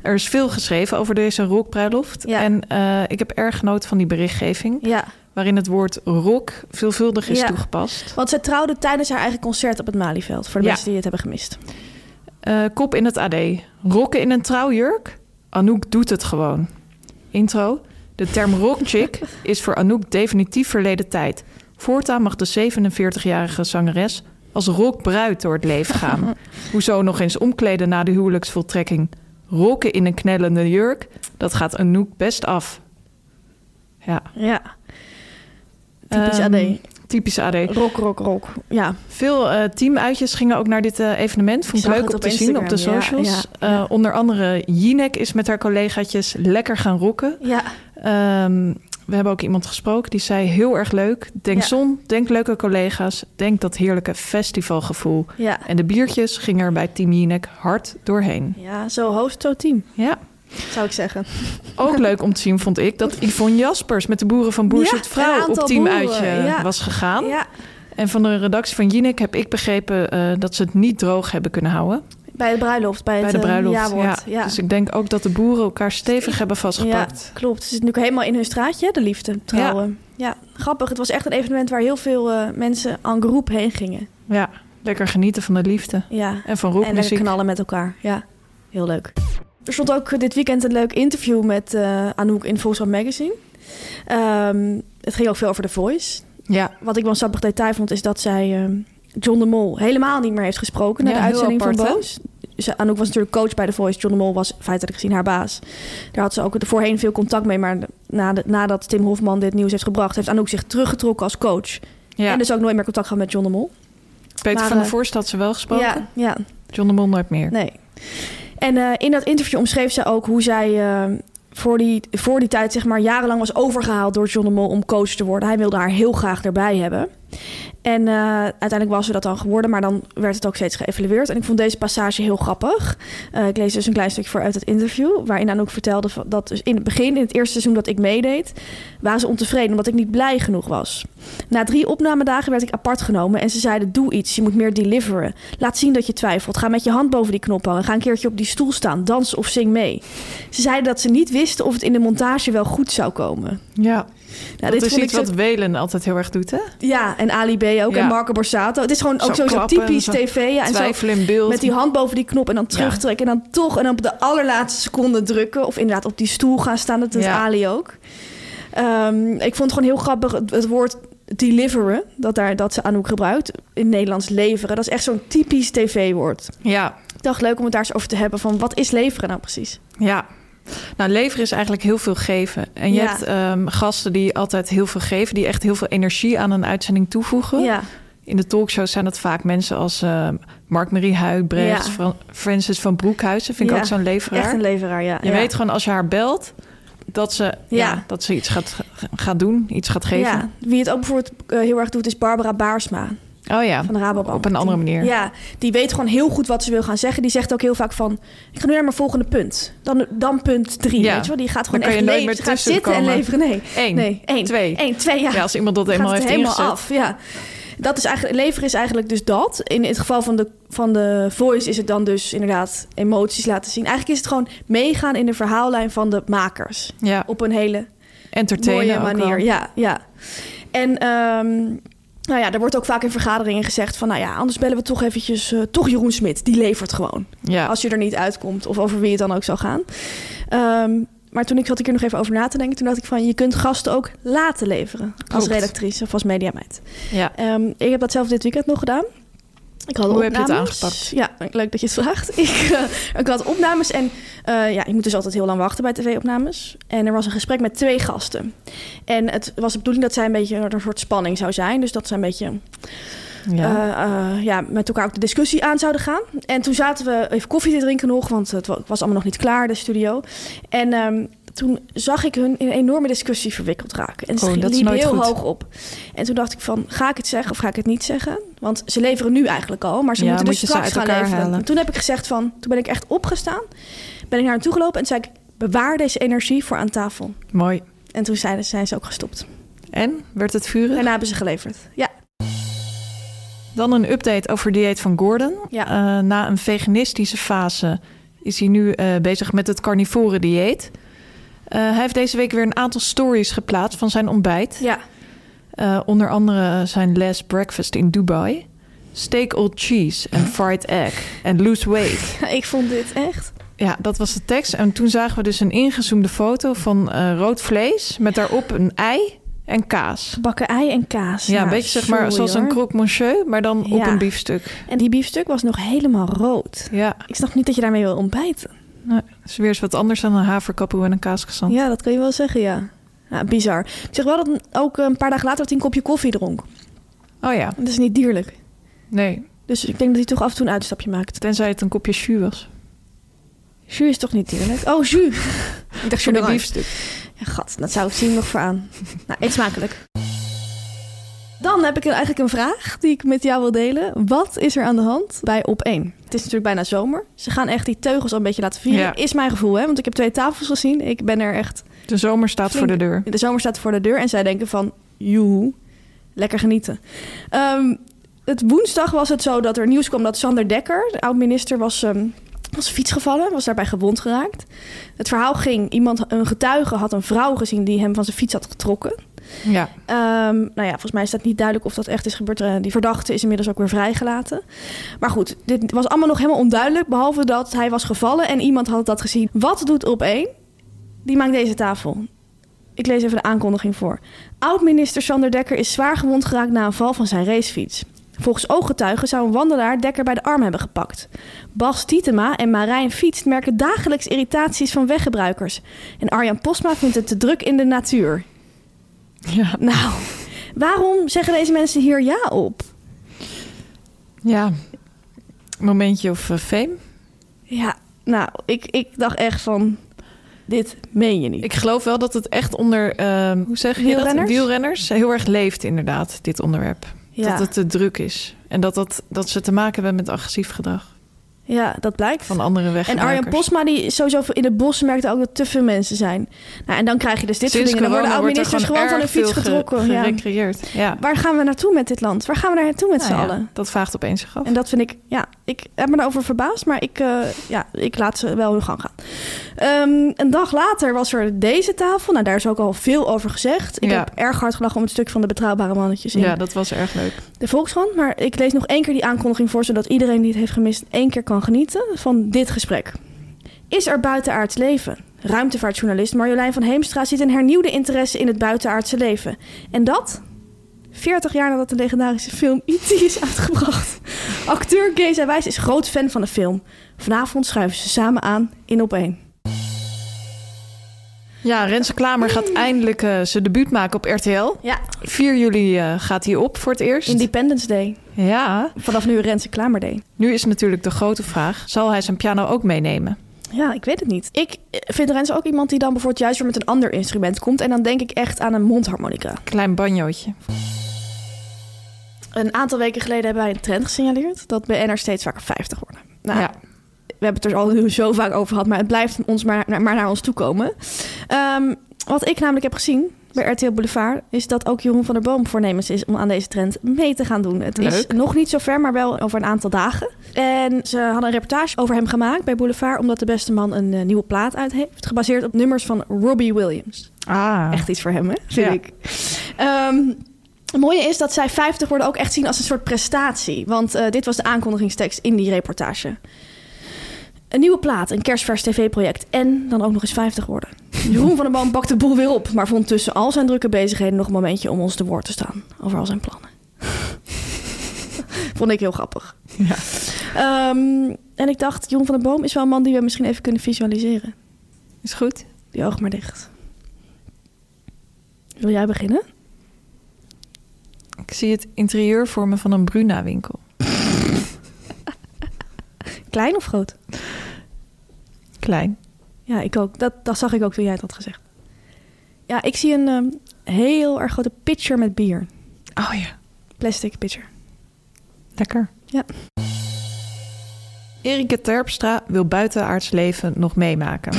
Speaker 2: Er is veel geschreven over deze rockbruiloft.
Speaker 3: Ja.
Speaker 2: En eh, ik heb erg genoten van die berichtgeving...
Speaker 3: Ja.
Speaker 2: waarin het woord rock veelvuldig is
Speaker 3: Ja.
Speaker 2: toegepast.
Speaker 3: Want zij trouwde tijdens haar eigen concert op het Malieveld. Voor de
Speaker 2: Ja.
Speaker 3: mensen die het hebben gemist.
Speaker 2: Eh, kop in het AD. Rocken in een trouwjurk? Anouk doet het gewoon. Intro. De term rockchick is voor Anouk definitief verleden tijd. Voortaan mag de 47-jarige zangeres als rockbruid door het leven gaan. Hoezo nog eens omkleden na de huwelijksvoltrekking? rokken in een knellende jurk, dat gaat Anouk best af. Ja.
Speaker 3: Ja. Typisch
Speaker 2: Ehm,
Speaker 3: AD.
Speaker 2: Typisch AD.
Speaker 3: Rock, rock, rock. Ja.
Speaker 2: Veel eh, teamuitjes gingen ook naar dit eh, evenement. Vond ik
Speaker 3: zag
Speaker 2: leuk
Speaker 3: het
Speaker 2: om
Speaker 3: op
Speaker 2: te zien op de
Speaker 3: Instagram, ja,
Speaker 2: socials.
Speaker 3: ja,
Speaker 2: Eh,
Speaker 3: ja.
Speaker 2: onder andere Jinek is met haar collegaatjes lekker gaan rocken.
Speaker 3: Ja.
Speaker 2: Ehm, we hebben ook iemand gesproken die zei heel erg leuk. Denk
Speaker 3: Ja.
Speaker 2: zon, denk leuke collega's, denk dat heerlijke festivalgevoel.
Speaker 3: Ja.
Speaker 2: En de biertjes gingen er bij Team Jinek hard doorheen.
Speaker 3: Ja, zo hoofd, zo team,
Speaker 2: Ja,
Speaker 3: zou ik zeggen.
Speaker 2: ook leuk om te zien vond ik dat Yvonne Jaspers met de boeren van Boer
Speaker 3: Ja,
Speaker 2: Zoekt
Speaker 3: een
Speaker 2: Vrouw
Speaker 3: aantal
Speaker 2: op teamuitje
Speaker 3: boeren, ja.
Speaker 2: was gegaan.
Speaker 3: Ja.
Speaker 2: En van de redactie van Jinek heb ik begrepen eh, dat ze het niet droog hebben kunnen houden.
Speaker 3: Bij de bruiloft, bij,
Speaker 2: bij
Speaker 3: het
Speaker 2: de
Speaker 3: eh,
Speaker 2: bruiloft.
Speaker 3: jawoord.
Speaker 2: ja. Dus ik denk ook dat de boeren elkaar stevig hebben vastgepakt.
Speaker 3: Ja, klopt. Ze zitten nu ook helemaal in hun straatje, hè, de liefde, trouwen. Ja. grappig. Het was echt een evenement waar heel veel eh, mensen en groep heen gingen.
Speaker 2: Ja. lekker genieten van de liefde
Speaker 3: Ja.
Speaker 2: en van
Speaker 3: En lekker
Speaker 2: rockmuziek.
Speaker 3: knallen met elkaar. Ja, heel leuk. Er stond ook eh, dit weekend een leuk interview met eh, Anouk in Volkswagen Magazine. Ehm, het ging ook veel over The Voice.
Speaker 2: Ja,
Speaker 3: Wat ik wel een sappig detail vond, is dat zij ehm, John de Mol helemaal niet meer heeft gesproken na
Speaker 2: Ja,
Speaker 3: de
Speaker 2: heel
Speaker 3: uitzending van
Speaker 2: apart, hè?
Speaker 3: Boos. Ze, Anouk was natuurlijk coach bij The Voice. John de Mol was feitelijk gezien haar baas. Daar had ze ook voorheen veel contact mee. Maar na de- nadat Tim Hofman dit nieuws heeft gebracht, heeft Anouk zich teruggetrokken als coach.
Speaker 2: ja.
Speaker 3: En dus ook nooit meer contact gehad met John de Mol.
Speaker 2: Peter
Speaker 3: maar,
Speaker 2: van der
Speaker 3: eh,
Speaker 2: Voorst had ze wel gesproken.
Speaker 3: Ja, ja,
Speaker 2: John de Mol nooit meer.
Speaker 3: nee. En eh, in dat interview omschreef ze ook hoe zij eh, voor, die, voor die tijd zeg maar, jarenlang was overgehaald door John de Mol om coach te worden. Hij wilde haar heel graag erbij hebben. En eh, uiteindelijk was ze dat dan geworden, maar dan werd het ook steeds geëvalueerd. En ik vond deze passage heel grappig. Eh, ik lees dus een klein stukje voor uit het interview, waarin aan ook vertelde van- dat dus in het begin, in het eerste seizoen dat ik meedeed, waren ze ontevreden omdat ik niet blij genoeg was. Na drie opnamedagen werd ik apart genomen en ze zeiden: Doe iets, je moet meer deliveren. Laat zien dat je twijfelt. Ga met je hand boven die knop hangen. Ga een keertje op die stoel staan. Dans of zing mee. Ze zeiden dat ze niet wisten of het in de montage wel goed zou komen.
Speaker 2: Ja, dat
Speaker 3: Nou,
Speaker 2: is
Speaker 3: vond
Speaker 2: iets
Speaker 3: ik zo-
Speaker 2: wat Welen altijd heel erg doet, hè?
Speaker 3: ja, en Ali B ook.
Speaker 2: Ja.
Speaker 3: En Marco Borsato. Het is gewoon ook
Speaker 2: Zo
Speaker 3: sowieso
Speaker 2: klappen en
Speaker 3: typisch
Speaker 2: zo
Speaker 3: tv. Ja, en zo
Speaker 2: Twijfelen in beeld.
Speaker 3: met die hand boven die knop en dan terugtrekken. En dan toch en dan op de allerlaatste seconde drukken. Of inderdaad op die stoel gaan staan. Dat doet
Speaker 2: Ja.
Speaker 3: Ali ook. Ehm, ik vond het gewoon heel grappig het, het woord deliveren. Dat, daar, dat ze Anouk gebruikt. In het Nederlands leveren. Dat is echt zo'n typisch tv-woord.
Speaker 2: Ja,
Speaker 3: Ik dacht leuk om het daar eens over te hebben. Van wat is leveren nou precies?
Speaker 2: ja. Nou, leveren is eigenlijk heel veel geven. En je
Speaker 3: Ja.
Speaker 2: hebt ehm, gasten die altijd heel veel geven, die echt heel veel energie aan een uitzending toevoegen.
Speaker 3: Ja,
Speaker 2: In de talkshows zijn dat vaak mensen als eh, Mark-Marie Huijbrecht,
Speaker 3: Ja.
Speaker 2: Fran- Francis van Broekhuizen. Vind ik
Speaker 3: Ja.
Speaker 2: ook zo'n leveraar.
Speaker 3: echt een leveraar, ja.
Speaker 2: je
Speaker 3: ja.
Speaker 2: weet gewoon als je haar belt dat ze, ja.
Speaker 3: Ja.
Speaker 2: dat ze iets gaat, gaat doen, iets gaat
Speaker 3: Ja,
Speaker 2: geven.
Speaker 3: wie het ook bijvoorbeeld eh, heel erg doet is Barbara Baarsma.
Speaker 2: Oh ja,
Speaker 3: van de Rabobank.
Speaker 2: Op een andere manier.
Speaker 3: Ja, die weet gewoon heel goed wat ze wil gaan zeggen. Die zegt ook heel vaak van, ik ga nu naar mijn volgende punt. Dan, dan punt drie,
Speaker 2: Ja.
Speaker 3: weet je wel. Die gaat
Speaker 2: Dan
Speaker 3: gewoon
Speaker 2: kan
Speaker 3: echt
Speaker 2: je nooit
Speaker 3: leven.
Speaker 2: meer
Speaker 3: Ze gaat
Speaker 2: tussen
Speaker 3: zitten en
Speaker 2: komen.
Speaker 3: leveren. Nee,
Speaker 2: Eén,
Speaker 3: nee. Eén.
Speaker 2: twee.
Speaker 3: Eén, twee, ja.
Speaker 2: Ja, als iemand dat eenmaal
Speaker 3: gaat het
Speaker 2: heeft
Speaker 3: helemaal
Speaker 2: ingezet.
Speaker 3: af, ja. Dat is eigenlijk, leveren is eigenlijk dus dat. In het geval van de, van de voice is het dan dus inderdaad emoties laten zien. Eigenlijk is het gewoon meegaan in de verhaallijn van de makers.
Speaker 2: Ja.
Speaker 3: Op een hele
Speaker 2: entertainen ook
Speaker 3: mooie manier.
Speaker 2: wel.
Speaker 3: Ja, ja. En ehm, nou ja, er wordt ook vaak in vergaderingen gezegd van, nou ja, anders bellen we toch eventjes eh, toch Jeroen Smit. Die levert gewoon.
Speaker 2: Ja.
Speaker 3: Als je er niet uitkomt of over wie het dan ook zou gaan. Ehm, maar toen ik zat ik er nog even over na te denken, toen dacht ik van, je kunt gasten ook laten leveren als
Speaker 2: Klopt.
Speaker 3: redactrice of als mediameid.
Speaker 2: Ja.
Speaker 3: Ehm, ik heb dat zelf dit weekend nog gedaan. Ik had
Speaker 2: Hoe heb je het
Speaker 3: opnames.
Speaker 2: aangepakt?
Speaker 3: Ja, leuk dat je het vraagt. Ik, eh, ik had opnames en eh, ja, ik moet dus altijd heel lang wachten bij tv-opnames. En er was een gesprek met twee gasten. En het was de bedoeling dat zij een beetje er een soort spanning zou zijn. Dus dat ze een beetje
Speaker 2: ja.
Speaker 3: eh, eh, ja, met elkaar ook de discussie aan zouden gaan. En toen zaten we even koffie te drinken nog, want het wa- was allemaal nog niet klaar, de studio. En ehm, toen zag ik hun in een enorme discussie verwikkeld raken. En ze
Speaker 2: Oh,
Speaker 3: liep
Speaker 2: dat is
Speaker 3: liepen
Speaker 2: nooit
Speaker 3: heel
Speaker 2: goed.
Speaker 3: hoog op. En toen dacht ik van, ga ik het zeggen of ga ik het niet zeggen? Want ze leveren nu eigenlijk al, maar ze
Speaker 2: Ja,
Speaker 3: moeten
Speaker 2: moet
Speaker 3: dus
Speaker 2: je ze
Speaker 3: straks
Speaker 2: uit
Speaker 3: gaan
Speaker 2: elkaar
Speaker 3: leveren.
Speaker 2: halen.
Speaker 3: En toen heb ik gezegd van, toen ben ik echt opgestaan, ben ik naar hen toe gelopen en toen zei ik, bewaar deze energie voor aan tafel.
Speaker 2: Mooi.
Speaker 3: En toen zeiden, zijn ze ook gestopt.
Speaker 2: En, werd het vuren?
Speaker 3: Daarna hebben ze geleverd. Ja,
Speaker 2: Dan een update over het dieet van Gordon.
Speaker 3: Ja.
Speaker 2: Eh, na een veganistische fase is hij nu eh, bezig met het carnivore dieet. Eh, hij heeft deze week weer een aantal stories geplaatst van zijn ontbijt.
Speaker 3: ja.
Speaker 2: Eh, onder andere zijn last breakfast in Dubai. Steak old cheese en fried egg en lose weight.
Speaker 3: Ik vond dit echt...
Speaker 2: Ja, dat was de tekst. En toen zagen we dus een ingezoomde foto van eh, rood vlees... met daarop een ei en kaas.
Speaker 3: Bakken ei en kaas.
Speaker 2: Ja, een
Speaker 3: Nou,
Speaker 2: beetje zeg maar
Speaker 3: sorry,
Speaker 2: zoals een
Speaker 3: hoor.
Speaker 2: croque monsieur, maar dan op
Speaker 3: Ja.
Speaker 2: een biefstuk.
Speaker 3: En die biefstuk was nog helemaal rood.
Speaker 2: Ja,
Speaker 3: Ik snap niet dat je daarmee wil ontbijten.
Speaker 2: Nou, dat is weer eens wat anders dan een haverkapoe en een kaaskazant.
Speaker 3: Ja, dat kan je wel zeggen, ja. Ja, bizar. Ik zeg wel dat ook een paar dagen later dat hij een kopje koffie dronk.
Speaker 2: Oh ja,
Speaker 3: Dat is niet dierlijk.
Speaker 2: nee.
Speaker 3: Dus ik denk dat hij toch af en toe een uitstapje maakt.
Speaker 2: Tenzij het een kopje jus was.
Speaker 3: Jus is toch niet dierlijk? Oh, jus. ik dacht
Speaker 2: Voor een
Speaker 3: jus
Speaker 2: biefstuk.
Speaker 3: Ja, gat, dat zou ik zien nog voor aan. Nou, eet smakelijk. Dan heb ik eigenlijk een vraag die ik met jou wil delen. Wat is er aan de hand bij op 1? Het is natuurlijk bijna zomer. Ze gaan echt die teugels al een beetje laten vieren.
Speaker 2: Ja.
Speaker 3: Is mijn gevoel, hè? Want ik heb twee tafels gezien. Ik ben er echt
Speaker 2: De zomer staat voor de
Speaker 3: Flink.
Speaker 2: deur.
Speaker 3: De zomer staat voor de deur en zij denken van, joehoe, lekker genieten. Ehm, het woensdag was het zo dat er nieuws kwam dat Sander Dekker, de oud-minister, was, ehm was fiets gevallen, was daarbij gewond geraakt. Het verhaal ging, iemand, een getuige had een vrouw gezien die hem van zijn fiets had getrokken.
Speaker 2: Ja,
Speaker 3: Ehm, nou ja, volgens mij is dat niet duidelijk of dat echt is gebeurd. Eh, die verdachte is inmiddels ook weer vrijgelaten. Maar goed, dit was allemaal nog helemaal onduidelijk. Behalve dat hij was gevallen en iemand had dat gezien. Wat doet op één? Die maakt deze tafel. Ik lees even de aankondiging voor. Oud-minister Sander Dekker is zwaar gewond geraakt na een val van zijn racefiets. Volgens ooggetuigen zou een wandelaar Dekker bij de arm hebben gepakt. Bas Tietema en Marijn Fiets merken dagelijks irritaties van weggebruikers. En Arjan Postma vindt het te druk in de natuur.
Speaker 2: ja.
Speaker 3: Nou, waarom zeggen deze mensen hier ja op?
Speaker 2: ja. Momentje of eh, fame.
Speaker 3: Ja, nou, ik, ik dacht echt van, dit meen je niet.
Speaker 2: Ik geloof wel dat het echt onder ehm, hoe zeg je dat?
Speaker 3: Wielrenners?
Speaker 2: wielrenners heel erg leeft, inderdaad, dit onderwerp.
Speaker 3: ja.
Speaker 2: Dat het te druk is. En dat, dat, dat ze te maken hebben met agressief gedrag
Speaker 3: ja, dat blijkt.
Speaker 2: van andere weg.
Speaker 3: en Arjen Posma, die is sowieso in het bos merkte ook dat te veel mensen zijn. Nou, en dan krijg je dus dit soort dingen. Dan worden oud-ministers gewoon van hun fiets getrokken. Ja.
Speaker 2: Gerecreëerd. Ja.
Speaker 3: Waar gaan we naartoe met dit land? Waar gaan we daar naartoe met
Speaker 2: Nou
Speaker 3: z'n
Speaker 2: ja,
Speaker 3: allen?
Speaker 2: Dat vraagt opeens zich af.
Speaker 3: En dat vind ik, ja, ik heb me daarover verbaasd, maar ik, eh, ja, ik laat ze wel hun gang gaan. Ehm, een dag later was er deze tafel. Nou, daar is ook al veel over gezegd. Ik
Speaker 2: Ja.
Speaker 3: heb erg hard gelachen om het stuk van de betrouwbare mannetjes in
Speaker 2: ja, dat was erg leuk.
Speaker 3: de Volkskrant. Maar ik lees nog één keer die aankondiging voor, zodat iedereen die het heeft gemist één keer kan genieten van dit gesprek. Is er buitenaards leven? Ruimtevaartjournalist Marjolein van Heemstra ziet een hernieuwde interesse in het buitenaardse leven. En dat 40 jaar nadat de legendarische film E.T. is uitgebracht. Acteur Geza Wijs is groot fan van de film. Vanavond schuiven ze samen aan in op één.
Speaker 2: Ja, Renze Klamer gaat eindelijk eh, zijn debuut maken op RTL.
Speaker 3: Ja.
Speaker 2: 4 juli eh, gaat hij op voor het eerst.
Speaker 3: Independence Day.
Speaker 2: Ja.
Speaker 3: Vanaf nu Renze Klamer Day.
Speaker 2: Nu is natuurlijk de grote vraag: zal hij zijn piano ook meenemen?
Speaker 3: Ja, ik weet het niet. Ik eh, vind Rens ook iemand die dan bijvoorbeeld juist weer met een ander instrument komt. En dan denk ik echt aan een mondharmonica.
Speaker 2: Klein banjootje.
Speaker 3: Een aantal weken geleden hebben wij een trend gesignaleerd dat BN'ers steeds vaker 50 worden. Nou,
Speaker 2: ja.
Speaker 3: we hebben het er al heel zo vaak over gehad, maar het blijft ons maar, maar naar ons toe komen. Ehm, wat ik namelijk heb gezien bij RTL Boulevard is dat ook Jeroen van der Boom voornemens is om aan deze trend mee te gaan doen. Het is
Speaker 2: Leuk.
Speaker 3: nog niet zo ver, maar wel over een aantal dagen. En ze hadden een reportage over hem gemaakt bij Boulevard, omdat de beste man een eh, nieuwe plaat uit heeft, gebaseerd op nummers van Robbie Williams.
Speaker 2: Ah.
Speaker 3: Echt iets voor hem, hè? Vind
Speaker 2: Ja.
Speaker 3: ik. Ehm, het mooie is dat zij 50 worden ook echt zien als een soort prestatie. Want eh, dit was de aankondigingstekst in die reportage. Een nieuwe plaat, een kerstvers tv-project en dan ook nog eens 50 worden. Jeroen van der Boom pakt de boel weer op, maar vond tussen al zijn drukke bezigheden nog een momentje om ons te woord te staan over al zijn plannen. vond ik heel grappig.
Speaker 2: Ja.
Speaker 3: Ehm, en ik dacht, Jeroen van der Boom is wel een man die we misschien even kunnen visualiseren.
Speaker 2: Is goed.
Speaker 3: Die ogen maar dicht. Wil jij beginnen?
Speaker 2: Ik zie het interieur voor me van een Bruna-winkel.
Speaker 3: Klein of groot?
Speaker 2: Klein.
Speaker 3: Ja, ik ook. Dat, dat zag ik ook toen jij het had gezegd. Ja, ik zie een ehm, heel erg grote pitcher met bier.
Speaker 2: Oh ja.
Speaker 3: Plastic pitcher.
Speaker 2: Lekker.
Speaker 3: Ja.
Speaker 2: Erika Terpstra wil buitenaards leven nog meemaken.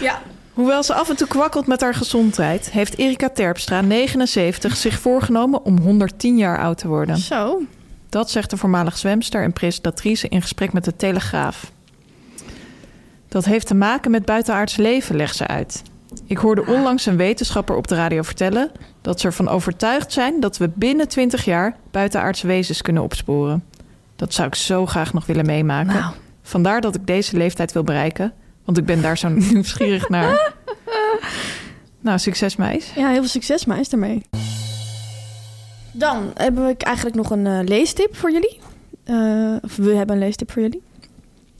Speaker 3: Ja.
Speaker 2: Hoewel ze af en toe kwakkelt met haar gezondheid, heeft Erika Terpstra, 79, zich voorgenomen om 110 jaar oud te worden.
Speaker 3: Zo.
Speaker 2: Dat zegt de voormalig zwemster en presentatrice in gesprek met de Telegraaf. Dat heeft te maken met buitenaards leven, legt ze uit. Ik hoorde onlangs een wetenschapper op de radio vertellen dat ze ervan overtuigd zijn dat we binnen 20 jaar buitenaards wezens kunnen opsporen. Dat zou ik zo graag nog willen meemaken.
Speaker 3: Nou.
Speaker 2: Vandaar dat ik deze leeftijd wil bereiken, want ik ben daar zo nieuwsgierig naar. Nou, succes meis.
Speaker 3: Ja, heel veel succes, maar is daarmee. Dan heb ik eigenlijk nog een eh, leestip voor jullie. Eh, of we hebben een leestip voor jullie.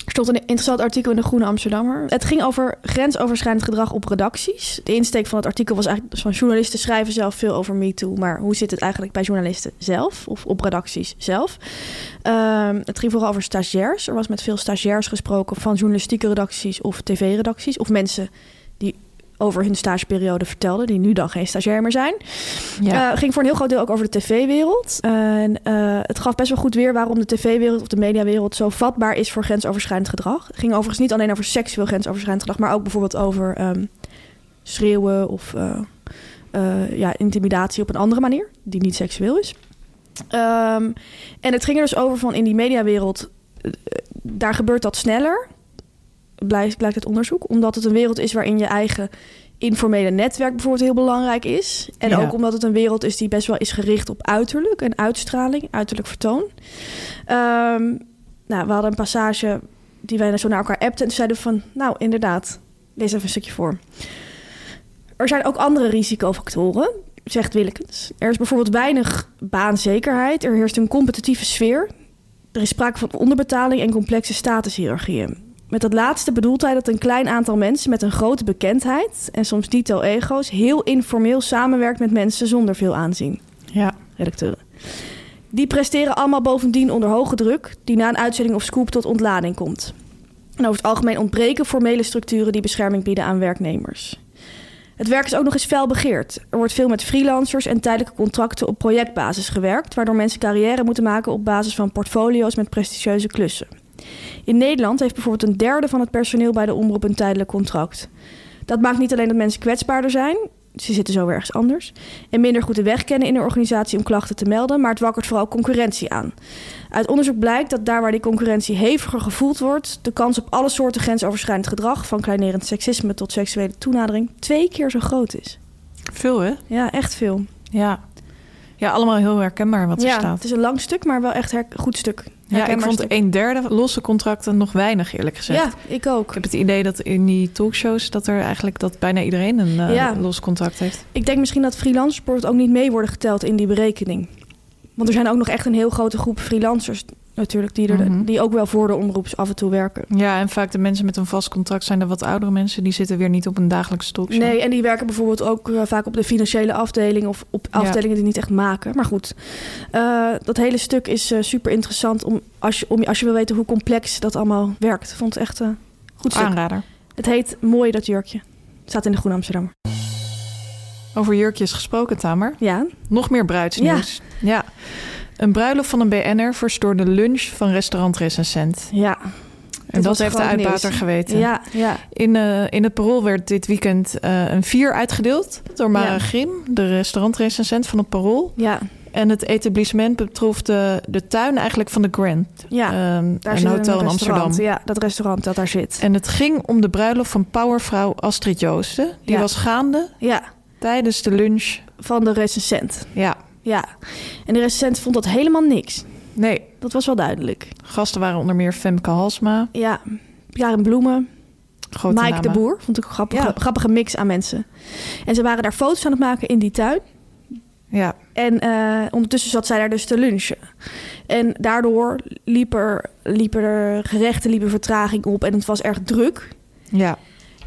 Speaker 3: stond een interessant artikel in de Groene Amsterdammer. Het ging over grensoverschrijdend gedrag op redacties. De insteek van het artikel was eigenlijk van journalisten schrijven zelf veel over MeToo. Maar hoe zit het eigenlijk bij journalisten zelf of op redacties zelf? Ehm, het ging vooral over stagiairs. Er was met veel stagiairs gesproken van journalistieke redacties of tv-redacties. Of mensen die over hun stageperiode vertelden, die nu dan geen stagiair meer zijn.
Speaker 2: Ja.
Speaker 3: Eh, ging voor een heel groot deel ook over de tv-wereld. En eh, het gaf best wel goed weer waarom de tv-wereld of de mediawereld zo vatbaar is voor grensoverschrijdend gedrag. Het ging overigens niet alleen over seksueel grensoverschrijdend gedrag, maar ook bijvoorbeeld over ehm, schreeuwen of eh, eh, ja, intimidatie op een andere manier, die niet seksueel is. Ehm, en het ging er dus over van in die mediawereld, eh, daar gebeurt dat sneller, blijkt, blijkt uit onderzoek, omdat het een wereld is waarin je eigen informele netwerk bijvoorbeeld heel belangrijk is. En
Speaker 2: Ja.
Speaker 3: ook omdat het een wereld is die best wel is gericht op uiterlijk en uitstraling, uiterlijk vertoon. Ehm, nou, we hadden een passage die wij zo naar elkaar appten en toen zeiden we van, nou inderdaad, lees even een stukje voor. Er zijn ook andere risicofactoren, zegt Willekens. Er is bijvoorbeeld weinig baanzekerheid. Er heerst een competitieve sfeer. Er is sprake van onderbetaling en complexe statushierarchieën. Met dat laatste bedoelt hij dat een klein aantal mensen met een grote bekendheid en soms dito ego's heel informeel samenwerkt met mensen zonder veel aanzien
Speaker 2: Ja.
Speaker 3: redacteuren. Die presteren allemaal bovendien onder hoge druk, die na een uitzending of scoop tot ontlading komt. En over het algemeen ontbreken formele structuren die bescherming bieden aan werknemers. Het werk is ook nog eens fel begeerd. Er wordt veel met freelancers en tijdelijke contracten op projectbasis gewerkt, waardoor mensen carrière moeten maken op basis van portfolio's met prestigieuze klussen. In Nederland heeft bijvoorbeeld een derde van het personeel bij de omroep een tijdelijk contract. Dat maakt niet alleen dat mensen kwetsbaarder zijn, ze zitten zo weer ergens anders, en minder goed de weg kennen in een organisatie om klachten te melden, maar het wakkert vooral concurrentie aan. Uit onderzoek blijkt dat daar waar die concurrentie heviger gevoeld wordt, de kans op alle soorten grensoverschrijdend gedrag, van kleinerend seksisme tot seksuele toenadering, twee keer zo groot is.
Speaker 2: Veel, hè?
Speaker 3: Ja, echt veel.
Speaker 2: Ja. Ja, allemaal heel herkenbaar wat er
Speaker 3: ja,
Speaker 2: staat.
Speaker 3: het is een lang stuk, maar wel echt een goed stuk.
Speaker 2: Ja, ik
Speaker 3: Herkenbaar
Speaker 2: vond
Speaker 3: stuk.
Speaker 2: een derde losse contracten nog weinig, eerlijk gezegd.
Speaker 3: Ja, ik ook.
Speaker 2: Ik heb het idee dat in die talkshows dat er eigenlijk dat bijna iedereen een eh,
Speaker 3: Ja.
Speaker 2: los contract heeft.
Speaker 3: Ik denk misschien dat freelancers bijvoorbeeld ook niet mee worden geteld in die berekening. Want er zijn ook nog echt een heel grote groep freelancers natuurlijk... die, er,
Speaker 2: Mhm.
Speaker 3: die ook wel voor de omroeps af en toe werken.
Speaker 2: Ja, en vaak de mensen met een vast contract zijn de wat oudere mensen. Die zitten weer niet op een dagelijkse talkshow.
Speaker 3: Nee, en die werken bijvoorbeeld ook eh, vaak op de financiële afdeling... of op
Speaker 2: Ja.
Speaker 3: afdelingen die niet echt maken. Maar goed, eh, dat hele stuk is eh, super interessant... Om, als, je, om, als je wil weten hoe complex dat allemaal werkt. Ik vond het echt eh, goed stuk.
Speaker 2: Aanrader.
Speaker 3: Het heet Mooi dat jurkje. Staat in de Groene Amsterdammer.
Speaker 2: Over jurkjes gesproken, Tamer.
Speaker 3: Ja,
Speaker 2: Nog meer bruidsnieuws. Ja. Een bruiloft van een BN'er verstoorde lunch van restaurantrecensent.
Speaker 3: ja.
Speaker 2: En dat
Speaker 3: was
Speaker 2: heeft de
Speaker 3: groot nieuws.
Speaker 2: uitbater geweten.
Speaker 3: Ja, ja.
Speaker 2: In, eh, in het Parool werd dit weekend eh, een vier uitgedeeld door Mara
Speaker 3: Ja.
Speaker 2: Grim, de restaurantrecensent van het Parool.
Speaker 3: Ja,
Speaker 2: En het etablissement betrof de, de tuin eigenlijk van de Grand,
Speaker 3: ja.
Speaker 2: ehm,
Speaker 3: Daar
Speaker 2: een
Speaker 3: zit
Speaker 2: hotel in
Speaker 3: restaurant.
Speaker 2: Amsterdam.
Speaker 3: Ja, dat restaurant dat daar zit.
Speaker 2: En het ging om de bruiloft van powervrouw Astrid Joosten. Die
Speaker 3: Ja.
Speaker 2: was gaande
Speaker 3: Ja,
Speaker 2: tijdens de lunch.
Speaker 3: van de recensent.
Speaker 2: Ja,
Speaker 3: Ja. En de recensent vond dat helemaal niks.
Speaker 2: nee,
Speaker 3: Dat was wel duidelijk.
Speaker 2: gasten waren onder meer Femke Halsma,
Speaker 3: Ja. Karen Bloemen,
Speaker 2: grote
Speaker 3: Mike
Speaker 2: namen.
Speaker 3: de Boer. Vond ik een grappige,
Speaker 2: Ja.
Speaker 3: grappige mix aan mensen. En ze waren daar foto's aan het maken in die tuin.
Speaker 2: Ja,
Speaker 3: En eh, ondertussen zat zij daar dus te lunchen. En daardoor liepen er, liep er gerechten liepen vertraging op. En het was erg druk.
Speaker 2: ja.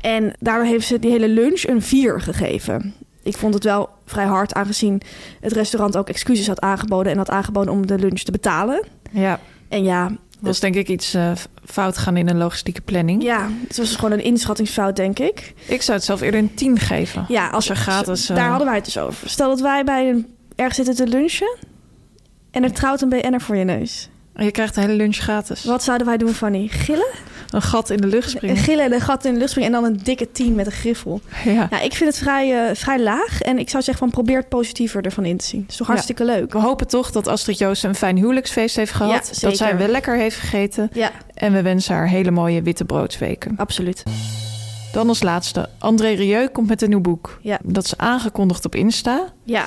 Speaker 3: En daardoor heeft ze die hele lunch een 4 gegeven. Ik vond het wel vrij hard, aangezien het restaurant ook excuses had aangeboden. En had aangeboden om de lunch te betalen.
Speaker 2: ja.
Speaker 3: En ja,
Speaker 2: was denk ik iets eh, fout gaan in een logistieke planning.
Speaker 3: ja het was gewoon een inschattingsfout, denk ik.
Speaker 2: Ik zou het zelf eerder een 10 geven.
Speaker 3: Ja,
Speaker 2: Als er gratis, eh,
Speaker 3: Daar hadden wij het dus over. Stel dat wij bij een, ergens zitten te lunchen. En er trouwt een BN'er voor je neus.
Speaker 2: En je krijgt de hele lunch gratis.
Speaker 3: Wat zouden wij doen, Fanny? Gillen?
Speaker 2: Een gat in de lucht springen.
Speaker 3: Gillen en een gat in de lucht springen en dan een dikke 10 met een griffel.
Speaker 2: Ja.
Speaker 3: Nou, ik vind het vrij, eh, vrij laag. En ik zou zeggen van probeer het positiever ervan in te zien. Het is toch
Speaker 2: Ja.
Speaker 3: hartstikke leuk?
Speaker 2: We hopen toch dat Astrid Joost een fijn huwelijksfeest heeft
Speaker 3: Ja,
Speaker 2: gehad.
Speaker 3: zeker.
Speaker 2: dat zij wel lekker heeft gegeten.
Speaker 3: Ja,
Speaker 2: En we wensen haar hele mooie witte broodsweken.
Speaker 3: absoluut.
Speaker 2: Dan als laatste. André Rieu komt met een nieuw boek.
Speaker 3: Ja.
Speaker 2: Dat is aangekondigd op Insta.
Speaker 3: Ja.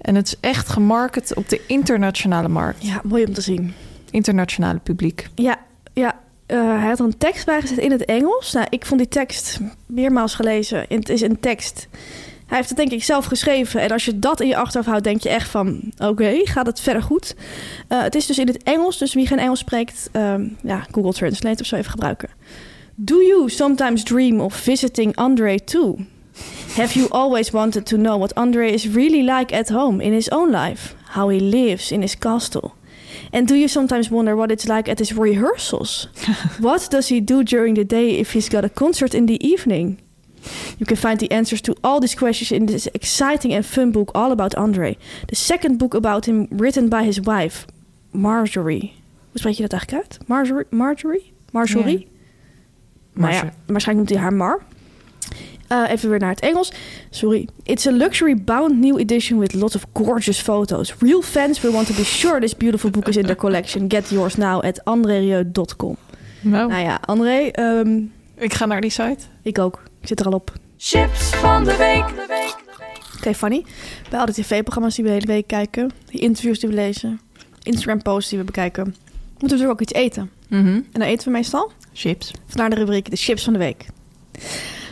Speaker 2: En het is echt gemarket op de internationale markt.
Speaker 3: ja, mooi om te zien.
Speaker 2: Internationale publiek.
Speaker 3: Ja, ja. Eh, hij had er een tekst bij gezet in het Engels. Nou, ik vond die tekst meermaals gelezen. En Het is een tekst Hij heeft het denk ik zelf geschreven. En als je dat in je achterhoofd houdt, denk je echt van... oké, gaat het verder goed? Eh, het is dus in het Engels, dus wie geen Engels spreekt... ehm, ja, Google Translate of zo even gebruiken. Do you sometimes dream of visiting Andre too? Have you always wanted to know what Andre is really like at home in his own life? How he lives in his castle? And do you sometimes wonder what it's like at his rehearsals? what does he do during the day if he's got a concert in the evening? You can find the answers to all these questions in this exciting and fun book all about Andre. The second book about him written by his wife, Marjorie. Hoe spreek je dat eigenlijk uit? Marjorie? Marjorie? Marjorie? Maar ja,
Speaker 2: Marjorie.
Speaker 3: waarschijnlijk noemt hij haar Mar. Eh, even weer naar het Engels. Sorry. It's a luxury bound new edition with lots of gorgeous photos. Real fans will want to be sure this beautiful book is in their collection. Get yours now at andrerieu.com.
Speaker 2: Nou,
Speaker 3: Nou ja, André, ehm,
Speaker 2: ik ga naar die site.
Speaker 3: ik ook. Ik zit er al op.
Speaker 4: Chips van de week.
Speaker 3: Oké, Fanny. Bij al die tv-programma's die we de hele week kijken, die interviews die we lezen, Instagram-posts die we bekijken, moeten we natuurlijk ook iets eten.
Speaker 2: Mhm.
Speaker 3: En dan eten we meestal.
Speaker 2: Chips.
Speaker 3: Vandaar de rubriek de chips van de week.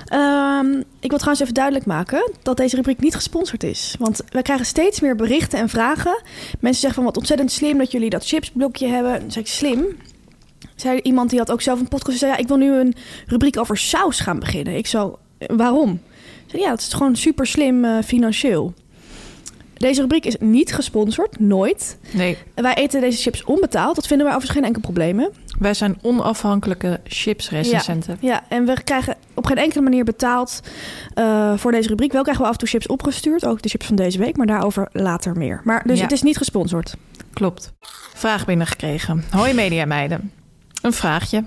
Speaker 3: Ehm, ik wil trouwens even duidelijk maken dat deze rubriek niet gesponsord is. Want we krijgen steeds meer berichten en vragen. Mensen zeggen van wat ontzettend slim dat jullie dat chipsblokje hebben. Dan zei ik slim. Zei iemand die had ook zelf een podcast. die zei ja, ik wil nu een rubriek over saus gaan beginnen. Ik zo, "Eh, waarom? Ze zei ja, dat is gewoon super slim eh, financieel. Deze rubriek is niet gesponsord, nooit.
Speaker 2: Nee,
Speaker 3: Wij eten deze chips onbetaald. Dat vinden wij overigens geen enkel probleem. Hè?
Speaker 2: wij zijn onafhankelijke chipsrecensenten.
Speaker 3: Ja, en we krijgen op geen enkele manier betaald eh, voor deze rubriek. Wel krijgen we af en toe chips opgestuurd, ook de chips van deze week, maar daarover later meer. Maar dus
Speaker 2: Ja.
Speaker 3: het is niet gesponsord.
Speaker 2: Klopt. Vraag binnengekregen. Hoi media meiden. Een vraagje.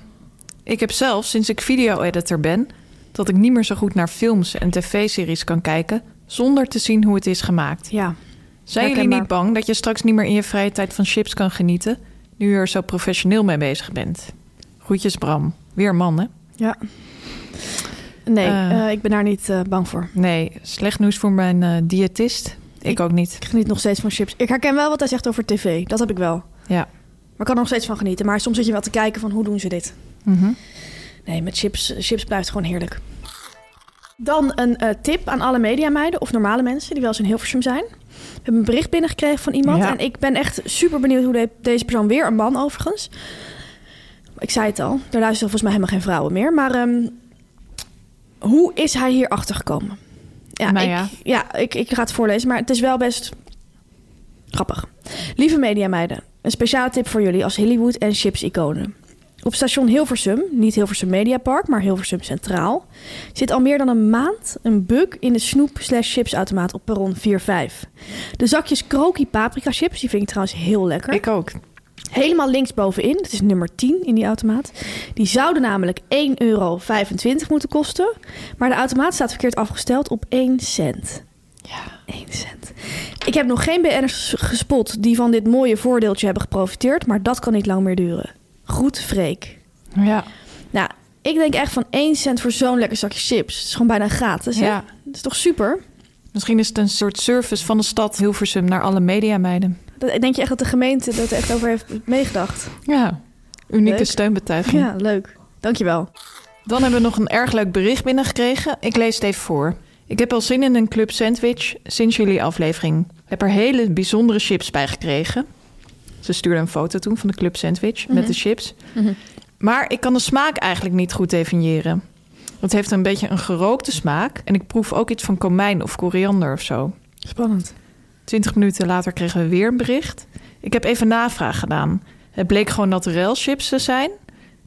Speaker 2: Ik heb zelf sinds ik video-editor ben dat ik niet meer zo goed naar films en tv-series kan kijken zonder te zien hoe het is gemaakt.
Speaker 3: Ja.
Speaker 2: Zijn jullie
Speaker 3: Herkenbaar.
Speaker 2: niet bang dat je straks niet meer in je vrije tijd van chips kan genieten nu je er zo professioneel mee bezig bent? Groetjes Bram. Weer man hè?
Speaker 3: Ja. Nee,
Speaker 2: Eh.
Speaker 3: eh, ik ben daar niet eh, bang voor.
Speaker 2: Nee, slecht nieuws voor mijn eh, diëtist. Ik ook niet.
Speaker 3: Ik geniet nog steeds van chips. Ik herken wel wat hij zegt over tv. Dat heb ik wel.
Speaker 2: Ja.
Speaker 3: Maar ik kan er nog steeds van genieten. Maar soms zit je wel te kijken van hoe doen ze dit.
Speaker 2: Mhm.
Speaker 3: Nee, met chips, chips blijft gewoon heerlijk. Dan een eh, tip aan alle mediameiden of normale mensen die wel eens in Hilversum zijn. We hebben een bericht binnengekregen van iemand.
Speaker 2: Ja.
Speaker 3: En ik ben echt super benieuwd hoe de- deze persoon, weer een man overigens. Ik zei het al, daar luisteren volgens mij helemaal geen vrouwen meer. Maar ehm, hoe is hij hier achter gekomen? Ja,
Speaker 2: Nou
Speaker 3: ik,
Speaker 2: ja.
Speaker 3: ja ik, ik ga het voorlezen, maar het is wel best grappig. Lieve mediameiden, een speciale tip voor jullie als Hollywood en chips-iconen. Op station Hilversum, niet Hilversum Mediapark, maar Hilversum Centraal, zit al meer dan een maand een bug in de snoep-slash-chipsautomaat op perron 4-5. De zakjes kroki paprika chips, die vind ik trouwens heel lekker.
Speaker 2: Ik ook.
Speaker 3: Helemaal linksbovenin, dat is nummer 10 in die automaat. Die zouden namelijk 1,25 euro moeten kosten. Maar de automaat staat verkeerd afgesteld op 1 cent. Ja, 1 cent. Ik heb nog geen BN'ers gespot die van dit mooie voordeeltje hebben geprofiteerd. Maar dat kan niet lang meer duren. Goed, Freek.
Speaker 2: Ja.
Speaker 3: Nou, ik denk echt van 1 cent voor zo'n lekker zakje chips. Het is gewoon bijna gratis. Hè?
Speaker 2: Ja.
Speaker 3: Dat is toch super?
Speaker 2: Misschien is het een soort service van de stad Hilversum naar alle mediameiden.
Speaker 3: Dat, denk je echt dat de gemeente dat er echt over heeft meegedacht? Hm.
Speaker 2: Ja, unieke
Speaker 3: Leuk.
Speaker 2: steunbetuiging.
Speaker 3: Ja, leuk. Dankjewel.
Speaker 2: Dan hebben we nog een erg leuk bericht binnengekregen. Ik lees het even voor. Ik heb al zin in een club sandwich sinds jullie aflevering. Ik heb er hele bijzondere chips bij gekregen. Ze stuurde een foto toen van de club sandwich met
Speaker 3: Mhm.
Speaker 2: de chips. Maar ik kan de smaak eigenlijk niet goed definiëren. Het heeft een beetje een gerookte smaak. En ik proef ook iets van komijn of koriander of zo.
Speaker 3: Spannend.
Speaker 2: 20 minuten later kregen we weer een bericht. Ik heb even navraag gedaan. Het bleek gewoon naturel chips te zijn...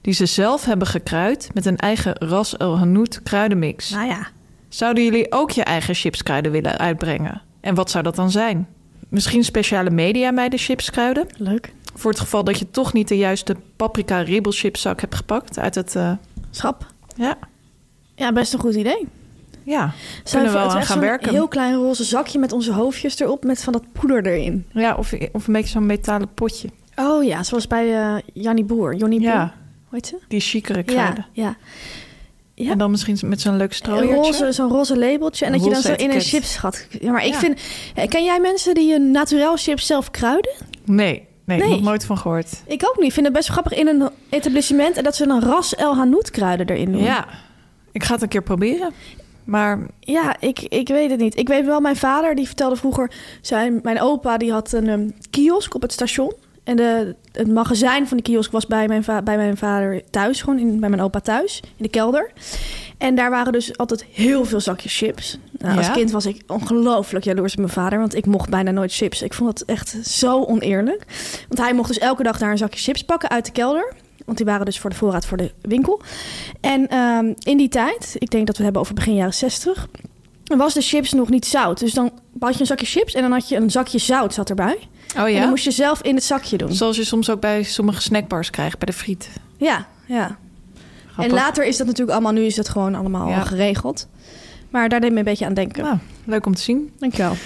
Speaker 2: die ze zelf hebben gekruid met een eigen ras El Hanout kruidenmix.
Speaker 3: Nou ja.
Speaker 2: Zouden jullie ook je eigen chipskruiden willen uitbrengen? En wat zou dat dan zijn? Misschien speciale media bij de chipskruiden?
Speaker 3: Leuk.
Speaker 2: Voor het geval dat je toch niet de juiste paprika ribbelchipzak hebt gepakt uit het... eh,
Speaker 3: Schap.
Speaker 2: ja,
Speaker 3: Ja, best een goed idee.
Speaker 2: ja.
Speaker 3: Zou
Speaker 2: kunnen we wel
Speaker 3: het
Speaker 2: aan
Speaker 3: echt
Speaker 2: gaan
Speaker 3: zo'n
Speaker 2: werken.
Speaker 3: heel klein roze zakje met onze hoofdjes erop, met van dat poeder erin.
Speaker 2: Ja, of, of een beetje zo'n metalen potje.
Speaker 3: Oh ja, zoals bij eh Jannie Boer. Johnny Boer.
Speaker 2: Ja,
Speaker 3: Hoe heet ze?
Speaker 2: die chicere
Speaker 3: Ja,
Speaker 2: kruiden.
Speaker 3: ja. Ja.
Speaker 2: En dan misschien met zo'n leuk
Speaker 3: Een
Speaker 2: strooiertje.
Speaker 3: roze, zo'n roze labeltje. En
Speaker 2: Een
Speaker 3: dat je dan
Speaker 2: roze
Speaker 3: zo in een
Speaker 2: etiket.
Speaker 3: chips gaat. Ja, maar ik
Speaker 2: Ja.
Speaker 3: vind... eh, Ken jij mensen die hun naturel chips zelf kruiden?
Speaker 2: Nee, nee,
Speaker 3: Nee.
Speaker 2: nog nooit van gehoord.
Speaker 3: Ik ook niet. Ik vind het best grappig in een
Speaker 2: Hm.
Speaker 3: etablissement... en dat ze een ras El Hanout kruiden erin doen.
Speaker 2: Ja, ik ga het een keer proberen. Maar
Speaker 3: Ja, ik, ik weet het niet. Ik weet wel, mijn vader die vertelde vroeger... Zijn, mijn opa die had een ehm, kiosk op het station. En de, het magazijn van de kiosk was bij mijn, va- bij mijn vader thuis. Gewoon in, bij mijn opa thuis, in de kelder. En daar waren dus altijd heel veel zakjes chips. Nou, Als
Speaker 2: Ja?
Speaker 3: kind was ik ongelooflijk jaloers op mijn vader... want ik mocht bijna nooit chips. Ik vond dat echt zo oneerlijk. Want hij mocht dus elke dag daar een zakje chips pakken uit de kelder... Want die waren dus voor de voorraad voor de winkel. En ehm, in die tijd, ik denk dat we het hebben over begin jaren 60, was de chips nog niet zout. Dus dan had je een zakje chips en dan had je een zakje zout zat erbij.
Speaker 2: oh
Speaker 3: En
Speaker 2: ja,
Speaker 3: dan moest je zelf in het zakje doen.
Speaker 2: zoals je soms ook bij sommige snackbars krijgt, bij de friet.
Speaker 3: Ja, ja.
Speaker 2: Grappig.
Speaker 3: En later is dat natuurlijk allemaal, nu is dat gewoon allemaal
Speaker 2: Ja.
Speaker 3: al geregeld. Maar daar deed me een beetje aan denken.
Speaker 2: Nou, leuk om te zien.
Speaker 3: Dankjewel.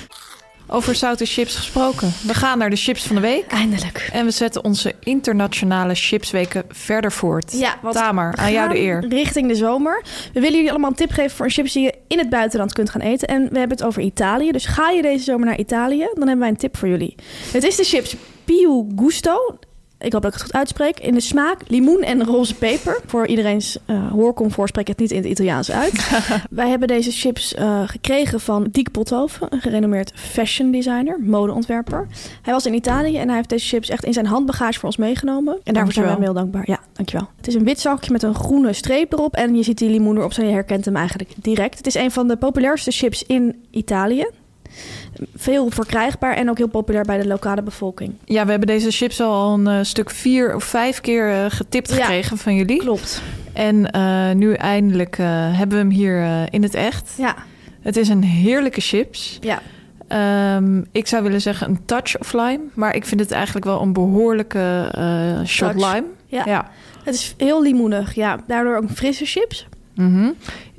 Speaker 2: Over zoute chips gesproken. We gaan naar de chips van de week.
Speaker 3: Eindelijk.
Speaker 2: En we zetten onze internationale chipsweken verder voort.
Speaker 3: Ja, want
Speaker 2: Tamer, aan jou de
Speaker 3: gaan
Speaker 2: eer.
Speaker 3: Richting de zomer. We willen jullie allemaal een tip geven voor een chips die je in het buitenland kunt gaan eten. En we hebben het over Italië. Dus ga je deze zomer naar Italië, dan hebben wij een tip voor jullie. Het is de chips Piu Gusto. Ik hoop dat ik het goed uitspreek. In de smaak limoen en roze peper. Voor iedereen's eh, hoorcomfort spreek ik het niet in het Italiaans uit. wij hebben deze chips eh, gekregen van Diek Pothoven, een gerenommeerd fashion designer, modeontwerper. Hij was in Italië en hij heeft deze chips echt in zijn handbagage voor ons meegenomen. En daarvoor zijn
Speaker 2: Dankjewel.
Speaker 3: wij hem heel dankbaar. Ja, dankjewel. Het is een wit zakje met een groene streep erop. En je ziet die limoen erop, zo je herkent hem eigenlijk direct. Het is een van de populairste chips in Italië. Veel verkrijgbaar en ook heel populair bij de lokale bevolking.
Speaker 2: Ja, we hebben deze chips al een eh, stuk vier of vijf keer eh, getipt
Speaker 3: Ja.
Speaker 2: gekregen van jullie.
Speaker 3: Klopt.
Speaker 2: En eh, nu eindelijk eh, hebben we hem hier eh, in het echt.
Speaker 3: Ja,
Speaker 2: Het is een heerlijke chips.
Speaker 3: ja.
Speaker 2: Ehm, ik zou willen zeggen een touch of lime. Maar ik vind het eigenlijk wel een behoorlijke eh, shot
Speaker 3: Touch.
Speaker 2: lime.
Speaker 3: Ja. Het is heel limoenig, ja. Daardoor ook frisse chips.
Speaker 2: Mhm.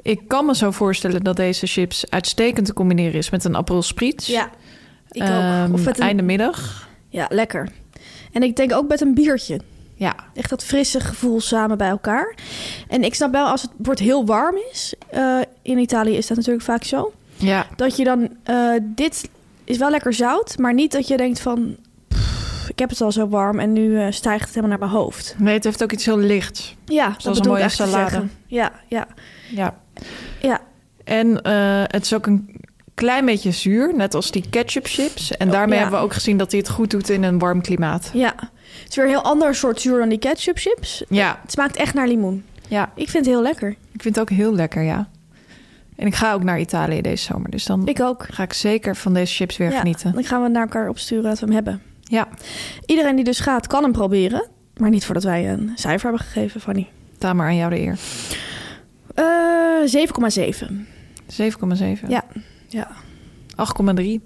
Speaker 2: Ik kan me zo voorstellen dat deze chips uitstekend te combineren is met een Aperol Spritz.
Speaker 3: ik ook. Of met een...
Speaker 2: Ehm, Einde middag.
Speaker 3: Ja, lekker. En ik denk ook met een biertje.
Speaker 2: Ja.
Speaker 3: Echt dat frisse gevoel samen bij elkaar. En ik snap wel, als het wordt heel warm is... eh, in Italië is dat natuurlijk vaak zo...
Speaker 2: Ja.
Speaker 3: dat je dan... eh, dit is wel lekker zout, maar niet dat je denkt van... "Pff, ik heb het al zo warm en nu eh, stijgt het helemaal naar mijn hoofd.
Speaker 2: Nee, het heeft ook iets heel lichts.
Speaker 3: Ja, dat
Speaker 2: een
Speaker 3: bedoel ik
Speaker 2: mooie
Speaker 3: echt te
Speaker 2: salade.
Speaker 3: zeggen. Ja, ja,
Speaker 2: Ja.
Speaker 3: ja.
Speaker 2: En eh, het is ook een klein beetje zuur, net als die ketchup chips. En daarmee
Speaker 3: Oh, ja.
Speaker 2: hebben we ook gezien dat hij het goed doet in een warm klimaat.
Speaker 3: Ja, het is weer een heel ander soort zuur dan die ketchup chips.
Speaker 2: Ja,
Speaker 3: Het smaakt echt naar limoen.
Speaker 2: ja.
Speaker 3: Ik vind het heel lekker.
Speaker 2: Ik vind het ook heel lekker, ja. En ik ga ook naar Italië deze zomer. Dus dan
Speaker 3: Ik ook.
Speaker 2: ga ik zeker van deze chips weer
Speaker 3: Ja,
Speaker 2: genieten.
Speaker 3: Dan gaan we naar elkaar opsturen dat we hem hebben.
Speaker 2: Ja,
Speaker 3: Iedereen die dus gaat, kan hem proberen. Maar niet voordat wij een cijfer hebben gegeven, Fanny.
Speaker 2: Tamer, aan jou de eer.
Speaker 3: Eh 7,7.
Speaker 2: 7,7.
Speaker 3: Ja. ja.
Speaker 2: 8,3.
Speaker 3: 8,3. Nou,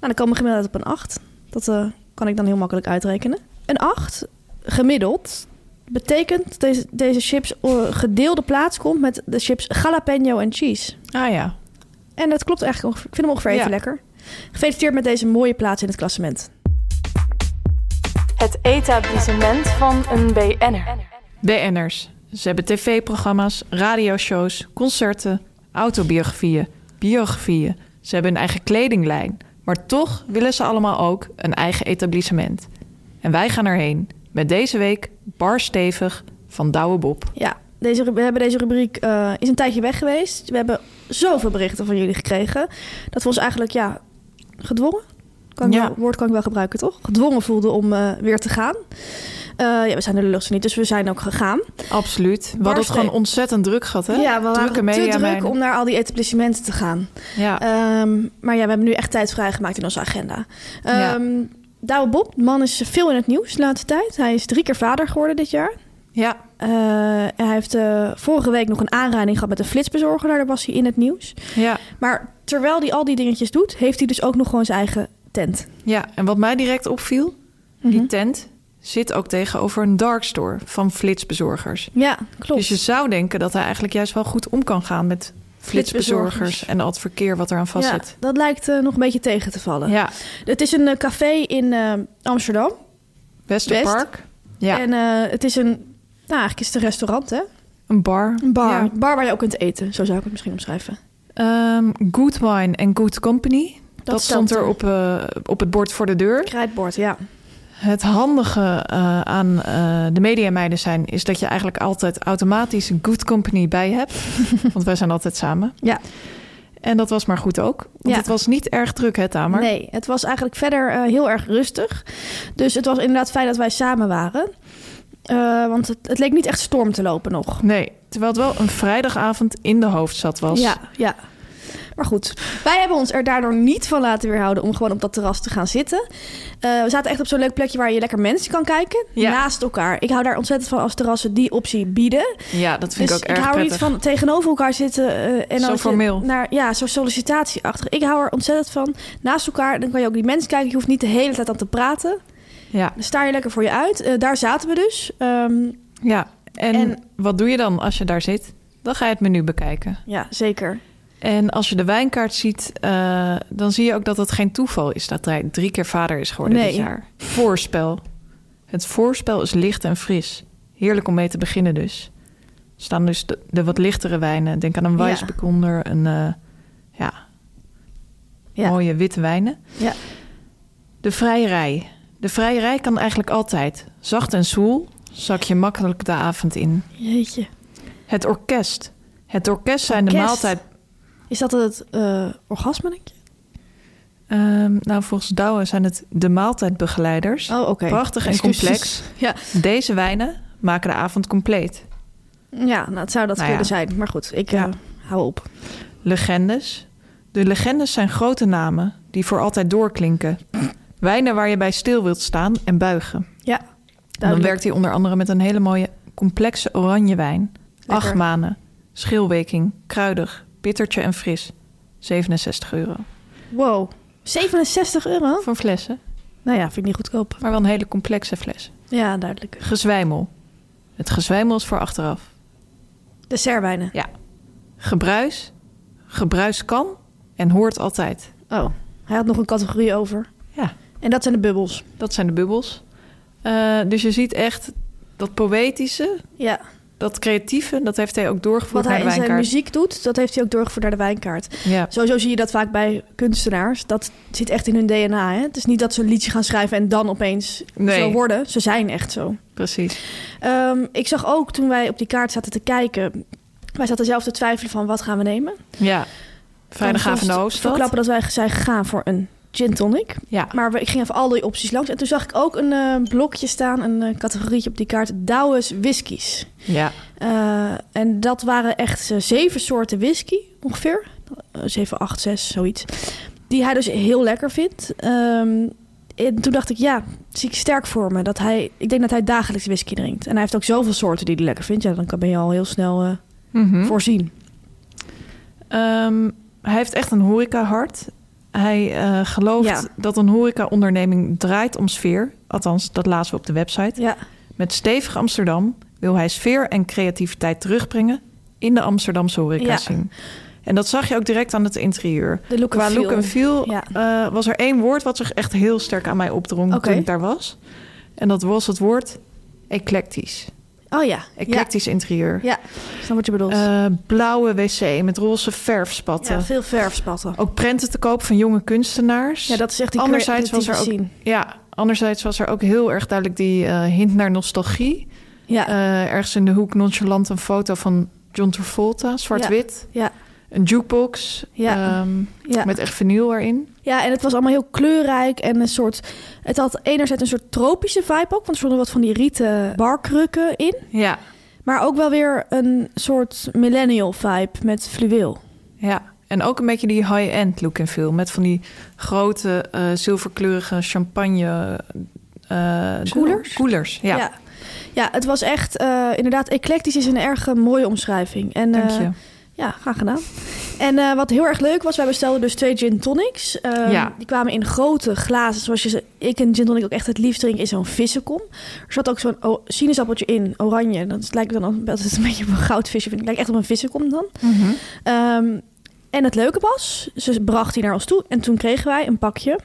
Speaker 3: dan komen we gemiddeld op een 8. Dat eh, kan ik dan heel makkelijk uitrekenen. Een 8, gemiddeld, betekent dat deze, deze chips eh, gedeelde plaats komt met de chips jalapeno en cheese.
Speaker 2: Ah ja.
Speaker 3: En dat klopt eigenlijk. ongeveer. Ik vind hem ongeveer even
Speaker 2: Ja.
Speaker 3: lekker. Gefeliciteerd met deze mooie plaats in het klassement.
Speaker 4: Het etablissement van een BN'er.
Speaker 2: BN'ers. Ze hebben tv-programma's, radioshows, concerten, autobiografieën, biografieën. Ze hebben een eigen kledinglijn. Maar toch willen ze allemaal ook een eigen etablissement. En wij gaan erheen met deze week Bar Stevig van Douwe Bob.
Speaker 3: Ja, deze, ru- we hebben deze rubriek eh, is een tijdje weg geweest. We hebben zoveel berichten van jullie gekregen. Dat we ons eigenlijk ja, gedwongen. Kan ik
Speaker 2: Ja.
Speaker 3: wel- woord kan ik wel gebruiken, toch? Gedwongen voelden om eh, weer te gaan. Eh, ja, we zijn de lucht niet, dus we zijn ook gegaan.
Speaker 2: Absoluut. We hadden het
Speaker 3: Barste-
Speaker 2: gewoon ontzettend druk gehad, hè?
Speaker 3: Ja, we waren
Speaker 2: Drukke
Speaker 3: te
Speaker 2: media
Speaker 3: druk
Speaker 2: meiden.
Speaker 3: om naar al die etablissementen te gaan.
Speaker 2: Ja.
Speaker 3: Ehm, maar ja, we hebben nu echt tijd vrijgemaakt in onze agenda.
Speaker 2: Ja.
Speaker 3: Ehm Douwe Bob, de man is veel in het nieuws de laatste tijd. Hij is drie keer vader geworden dit jaar.
Speaker 2: ja.
Speaker 3: Eh, hij heeft eh, vorige week nog een aanrijding gehad met een flitsbezorger. Daar was hij in het nieuws.
Speaker 2: Ja.
Speaker 3: Maar terwijl hij al die dingetjes doet, heeft hij dus ook nog gewoon zijn eigen tent.
Speaker 2: Ja, en wat mij direct opviel,
Speaker 3: Mhm.
Speaker 2: die tent zit ook tegenover een darkstore van flitsbezorgers.
Speaker 3: Ja, klopt.
Speaker 2: Dus je zou denken dat hij eigenlijk juist wel goed om kan gaan met flitsbezorgers
Speaker 3: Flitsbezorgers.
Speaker 2: en al het verkeer wat eraan
Speaker 3: ja,
Speaker 2: vastzit.
Speaker 3: dat lijkt eh, nog een beetje tegen te vallen.
Speaker 2: Ja,
Speaker 3: Het is een eh, café in eh, Amsterdam.
Speaker 2: Westerpark. Ja,
Speaker 3: En eh, het is een, nou eigenlijk is het een restaurant hè?
Speaker 2: een bar.
Speaker 3: Een bar.
Speaker 2: Ja.
Speaker 3: bar waar je ook kunt eten. Zo zou ik het misschien omschrijven.
Speaker 2: Ehm, good Wine en Good Company. Dat,
Speaker 3: Dat
Speaker 2: stond
Speaker 3: stelt
Speaker 2: er
Speaker 3: er.
Speaker 2: op, eh, op het bord voor de deur.
Speaker 3: Krijtbord, ja.
Speaker 2: Het handige eh, aan eh, de mediameiden zijn... is dat je eigenlijk altijd automatisch een good company bij hebt. want wij zijn altijd samen.
Speaker 3: Ja.
Speaker 2: En dat was maar goed ook. Want
Speaker 3: Ja.
Speaker 2: het was niet erg druk, hè Tamer?
Speaker 3: Nee, het was eigenlijk verder eh, heel erg rustig. Dus het was inderdaad fijn dat wij samen waren. Eh, want het, het leek niet echt storm te lopen nog.
Speaker 2: Nee, terwijl het wel een vrijdagavond in de hoofdstad was.
Speaker 3: Ja, ja. Maar goed, wij hebben ons er daardoor niet van laten weerhouden om gewoon op dat terras te gaan zitten. Eh, we zaten echt op zo'n leuk plekje waar je lekker mensen kan kijken.
Speaker 2: Ja.
Speaker 3: Naast elkaar. Ik hou daar ontzettend van als terrassen die optie bieden.
Speaker 2: Ja, dat vind
Speaker 3: dus
Speaker 2: ik ook erg
Speaker 3: hou er
Speaker 2: prettig.
Speaker 3: niet van tegenover elkaar zitten. eh, en
Speaker 2: Zo
Speaker 3: dan zit-
Speaker 2: formeel.
Speaker 3: Naar, ja, zo sollicitatieachtig. Ik hou er ontzettend van. Naast elkaar, dan kan je ook die mensen kijken. Je hoeft niet de hele tijd aan te praten.
Speaker 2: Ja,
Speaker 3: Dan sta je lekker voor je uit. Eh, daar zaten we dus. Ehm,
Speaker 2: ja. En,
Speaker 3: En-
Speaker 2: wat doe je dan als je daar zit? Dan ga je het menu bekijken.
Speaker 3: ja, zeker.
Speaker 2: En als je de wijnkaart ziet, eh, dan zie je ook dat het geen toeval is dat hij drie keer vader is geworden
Speaker 3: Nee.
Speaker 2: dit jaar. Voorspel. Het voorspel is licht en fris. Heerlijk om mee te beginnen dus. Er staan dus de, de wat lichtere wijnen. Denk aan een
Speaker 3: Ja.
Speaker 2: Weissbekonder, een eh, ja,
Speaker 3: Ja.
Speaker 2: mooie witte wijnen.
Speaker 3: Ja.
Speaker 2: De vrijerij. De vrijerij kan eigenlijk altijd. Zacht en zoel zak je makkelijk de avond in.
Speaker 3: Jeetje.
Speaker 2: Het orkest. Het orkest zijn de
Speaker 3: Orkest.
Speaker 2: maaltijd
Speaker 3: Is dat het eh, orgasme, denk je?
Speaker 2: Ehm, nou, volgens Douwe zijn het de maaltijdbegeleiders.
Speaker 3: Oh, oké.
Speaker 2: Prachtig en
Speaker 3: Excuses.
Speaker 2: complex.
Speaker 3: Ja.
Speaker 2: Deze wijnen maken de avond compleet.
Speaker 3: Ja, nou, het zou dat
Speaker 2: Nou
Speaker 3: kunnen
Speaker 2: ja.
Speaker 3: zijn. Maar goed, ik
Speaker 2: Ja.
Speaker 3: eh, hou op.
Speaker 2: Legendes. De legendes zijn grote namen die voor altijd doorklinken. Wijnen waar je bij stil wilt staan en buigen.
Speaker 3: Ja,
Speaker 2: En dan werkt hij onder andere met een hele mooie complexe oranjewijn.
Speaker 3: Lekker.
Speaker 2: Acht manen, schilweking, kruidig, bittertje en fris. 67 euro.
Speaker 3: Wow. 67 euro?
Speaker 2: Voor flessen,
Speaker 3: Nou ja, vind ik niet goedkoop.
Speaker 2: maar wel een hele complexe fles.
Speaker 3: Ja, duidelijk.
Speaker 2: Gezwijmel. Het gezwijmel is voor achteraf.
Speaker 3: Dessertwijnen.
Speaker 2: Ja. Gebruis, gebruis kan en hoort altijd.
Speaker 3: Oh, hij had nog een categorie over.
Speaker 2: Ja,
Speaker 3: En dat zijn de bubbels.
Speaker 2: dat zijn de bubbels. Eh, dus je ziet echt dat poëtische,
Speaker 3: Ja,
Speaker 2: dat creatieve, dat heeft hij ook doorgevoerd
Speaker 3: wat
Speaker 2: naar
Speaker 3: hij
Speaker 2: de
Speaker 3: in zijn
Speaker 2: wijnkaart.
Speaker 3: muziek doet, dat heeft hij ook doorgevoerd naar de wijnkaart.
Speaker 2: Ja.
Speaker 3: Sowieso zie je dat vaak bij kunstenaars. Dat zit echt in hun DNA. Hè? Het is niet dat ze een liedje gaan schrijven en dan opeens
Speaker 2: Nee.
Speaker 3: zo worden. Ze zijn echt zo.
Speaker 2: Precies.
Speaker 3: Ehm, ik zag ook toen wij op die kaart zaten te kijken. Wij zaten zelf te twijfelen van wat gaan we nemen.
Speaker 2: Ja. Vrijdagavond in de
Speaker 3: Toen
Speaker 2: hoofdstad.
Speaker 3: verklappen dat wij zijn gegaan voor een gin tonic.
Speaker 2: Ja.
Speaker 3: Maar we- ik ging even al die opties langs. En toen zag ik ook een eh, blokje staan, een eh, categorietje op die kaart. Douwe's whiskies.
Speaker 2: Ja.
Speaker 3: Eh, en dat waren echt eh, zeven soorten whisky, ongeveer. Eh, Zeven, acht, zes, zoiets. Die hij dus heel lekker vindt. Ehm, en toen dacht ik, ja, zie ik sterk voor me. Dat hij, ik denk dat hij dagelijks whisky drinkt. En hij heeft ook zoveel soorten die hij lekker vindt. Ja, dan kan- ben je al heel snel eh,
Speaker 2: Mhm.
Speaker 3: voorzien.
Speaker 2: Ehm, hij heeft echt een horecahart. Hij eh, gelooft
Speaker 3: Ja.
Speaker 2: dat een horecaonderneming draait om sfeer. Althans, dat lazen we op de website.
Speaker 3: Ja,
Speaker 2: Met stevig Amsterdam wil hij sfeer en creativiteit terugbrengen in de Amsterdamse horeca
Speaker 3: Ja.
Speaker 2: scene. En dat zag je ook direct aan het interieur.
Speaker 3: de look
Speaker 2: Qua
Speaker 3: and feel.
Speaker 2: look en feel
Speaker 3: Ja.
Speaker 2: eh, was er één woord wat zich echt heel sterk aan mij opdrong
Speaker 3: Oké.
Speaker 2: toen ik daar was. En dat was het woord eclectisch.
Speaker 3: Oh ja, ja.
Speaker 2: Eclectisch interieur.
Speaker 3: Ja, ik snap wat je bedoelt.
Speaker 2: Eh, blauwe wc met roze verfspatten.
Speaker 3: ja, veel verfspatten.
Speaker 2: Ook prenten te koop van jonge kunstenaars.
Speaker 3: Ja, dat is echt die
Speaker 2: anderzijds was er ook,
Speaker 3: creatieve scene.
Speaker 2: Ja, anderzijds was er ook heel erg duidelijk die eh, hint naar nostalgie.
Speaker 3: Ja,
Speaker 2: Eh, ergens in de hoek nonchalant een foto van John Travolta, zwart-wit.
Speaker 3: ja,
Speaker 2: Een jukebox
Speaker 3: Ja.
Speaker 2: ehm,
Speaker 3: ja.
Speaker 2: met echt vinyl erin.
Speaker 3: ja, en het was allemaal heel kleurrijk en een soort... Het had enerzijds een soort tropische vibe ook, want er stonden wat van die rieten barkrukken in.
Speaker 2: Ja,
Speaker 3: Maar ook wel weer een soort millennial vibe met fluweel.
Speaker 2: ja. En ook een beetje die high-end look en feel. Met van die grote eh, zilverkleurige champagne... eh,
Speaker 3: Koelers?
Speaker 2: Koelers, ja.
Speaker 3: ja. Ja, het was echt... eh, inderdaad, eclectisch is een erg eh, mooie omschrijving. En,
Speaker 2: Dank
Speaker 3: eh,
Speaker 2: je.
Speaker 3: Ja, graag gedaan. En eh, wat heel erg leuk was, wij bestelden dus twee gin tonics. Ehm,
Speaker 2: Ja.
Speaker 3: Die kwamen in grote glazen, zoals je ze, ik een gin tonic ook echt het liefst drink, is zo'n vissenkom. Er zat ook zo'n o- sinaasappeltje in, oranje. Dat lijkt dan altijd een beetje op een goudvisje, vind ik. Lijkt echt op een vissenkom dan.
Speaker 2: Mhm.
Speaker 3: Ehm, en het leuke was, ze bracht die naar ons toe en toen kregen wij een pakje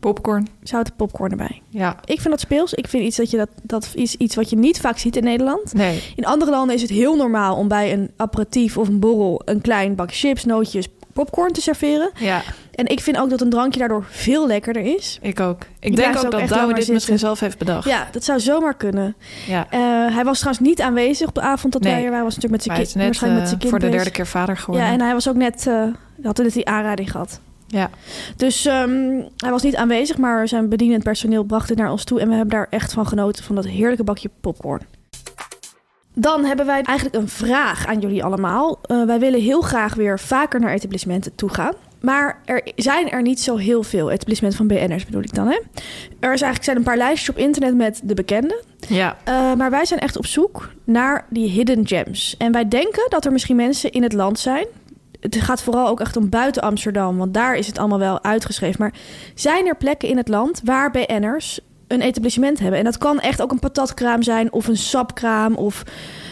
Speaker 2: Popcorn,
Speaker 3: zouten popcorn erbij.
Speaker 2: ja.
Speaker 3: Ik vind dat speels. Ik vind iets dat je dat, dat is iets wat je niet vaak ziet in Nederland.
Speaker 2: Nee,
Speaker 3: In andere landen is het heel normaal om bij een aperitief of een borrel een klein bakje chips, nootjes, popcorn te serveren.
Speaker 2: Ja,
Speaker 3: En ik vind ook dat een drankje daardoor veel lekkerder is.
Speaker 2: ik ook. Ik
Speaker 3: blijft
Speaker 2: denk ook
Speaker 3: ook
Speaker 2: dat Douwe
Speaker 3: echt langer
Speaker 2: dit
Speaker 3: zitten.
Speaker 2: misschien zelf heeft bedacht.
Speaker 3: Ja, dat zou zomaar kunnen.
Speaker 2: Ja.
Speaker 3: Eh, hij was trouwens niet aanwezig op de avond dat
Speaker 2: Nee.
Speaker 3: wij er waren. Hij was natuurlijk met
Speaker 2: Maar
Speaker 3: zijn
Speaker 2: hij is
Speaker 3: kind,
Speaker 2: net
Speaker 3: waarschijnlijk met
Speaker 2: eh,
Speaker 3: zijn kind
Speaker 2: voor de
Speaker 3: bezig.
Speaker 2: derde keer vader geworden.
Speaker 3: Ja, en hij was ook net, eh had net die aanrading gehad.
Speaker 2: ja.
Speaker 3: Dus ehm, hij was niet aanwezig, maar zijn bedienend personeel bracht het naar ons toe. En we hebben daar echt van genoten, van dat heerlijke bakje popcorn. Dan hebben wij eigenlijk een vraag aan jullie allemaal. Eh, wij willen heel graag weer vaker naar etablissementen toe gaan. Maar er zijn er niet zo heel veel etablissementen van BN'ers, bedoel ik dan. Hè? Er is eigenlijk, zijn een paar lijstjes op internet met de bekende.
Speaker 2: ja.
Speaker 3: Eh, maar wij zijn echt op zoek naar die hidden gems. En wij denken dat er misschien mensen in het land zijn. Het gaat vooral ook echt om buiten Amsterdam, want daar is het allemaal wel uitgeschreven. Maar zijn er plekken in het land waar BN'ers een etablissement hebben? En dat kan echt ook een patatkraam zijn, of een sapkraam, of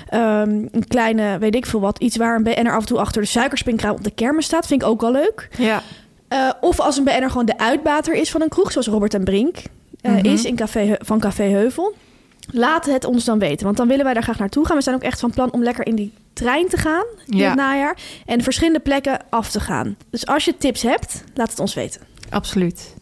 Speaker 3: ehm, een kleine, weet ik veel wat. Iets waar een BN'er af en toe achter de suikerspinkraam op de kermis staat. Vind ik ook wel leuk.
Speaker 2: ja.
Speaker 3: Eh, of als een BN'er gewoon de uitbater is van een kroeg, zoals Robert en Brink eh,
Speaker 2: Mhm.
Speaker 3: is in café, Heu- van Café Heuvel. Laat het ons dan weten, want dan willen wij daar graag naartoe gaan. We zijn ook echt van plan om lekker in die trein te gaan in
Speaker 2: Ja.
Speaker 3: het najaar. En verschillende plekken af te gaan. Dus als je tips hebt, laat het ons weten.
Speaker 2: Absoluut.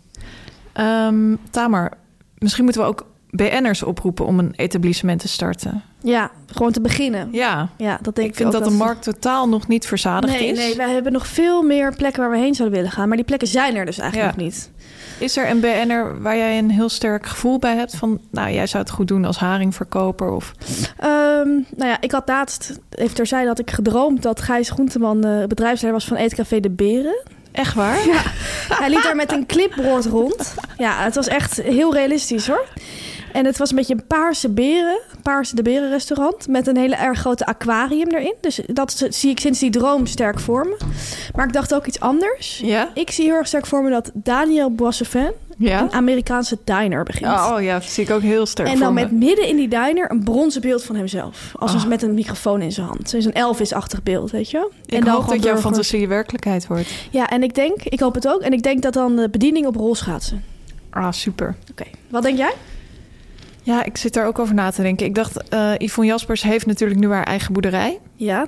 Speaker 2: Ehm Tamer, misschien moeten we ook BN'ers oproepen om een etablissement te starten.
Speaker 3: Ja, gewoon te beginnen.
Speaker 2: Ja,
Speaker 3: Ja, dat denk
Speaker 2: ik
Speaker 3: ik,
Speaker 2: vind
Speaker 3: ook
Speaker 2: dat de markt totaal nog niet verzadigd
Speaker 3: Nee,
Speaker 2: is.
Speaker 3: nee, wij hebben nog veel meer plekken waar we heen zouden willen gaan. Maar die plekken zijn er dus eigenlijk
Speaker 2: Ja.
Speaker 3: nog niet.
Speaker 2: Is er een BN'er waar jij een heel sterk gevoel bij hebt van... nou, jij zou het goed doen als haringverkoper of...
Speaker 3: Ehm, nou ja, ik had laatst, even terzijde, had ik gedroomd dat Gijs Groenteman eh bedrijfsleider was van Eetcafé De Beren.
Speaker 2: Echt waar?
Speaker 3: Ja. Hij liep daar met een clipboard rond. Ja, het was echt heel realistisch hoor. En het was een beetje een paarse beren, paarse de beren restaurant met een hele erg grote aquarium erin. Dus dat zie ik sinds die droom sterk voor me. Maar ik dacht ook iets anders.
Speaker 2: Ja?
Speaker 3: Ik zie heel erg sterk voor me dat Daniel Boissevin
Speaker 2: Ja?
Speaker 3: een Amerikaanse diner begint.
Speaker 2: Oh, oh ja, dat zie ik ook heel sterk
Speaker 3: En
Speaker 2: voor
Speaker 3: dan
Speaker 2: me.
Speaker 3: met midden in die diner een bronzen beeld van hemzelf. Als
Speaker 2: Oh.
Speaker 3: met een microfoon in zijn hand. Dus een Elvis-achtig beeld, weet je?
Speaker 2: Ik
Speaker 3: en dan
Speaker 2: hoop
Speaker 3: gewoon
Speaker 2: dat jouw
Speaker 3: burgers.
Speaker 2: fantasie werkelijkheid wordt.
Speaker 3: Ja, en ik denk, ik hoop het ook. En ik denk dat dan de bediening op rol schaatsen.
Speaker 2: Ah, super.
Speaker 3: Oké, wat denk jij?
Speaker 2: Ja, ik zit daar ook over na te denken. Ik dacht, eh Yvonne Jaspers heeft natuurlijk nu haar eigen boerderij.
Speaker 3: Ja.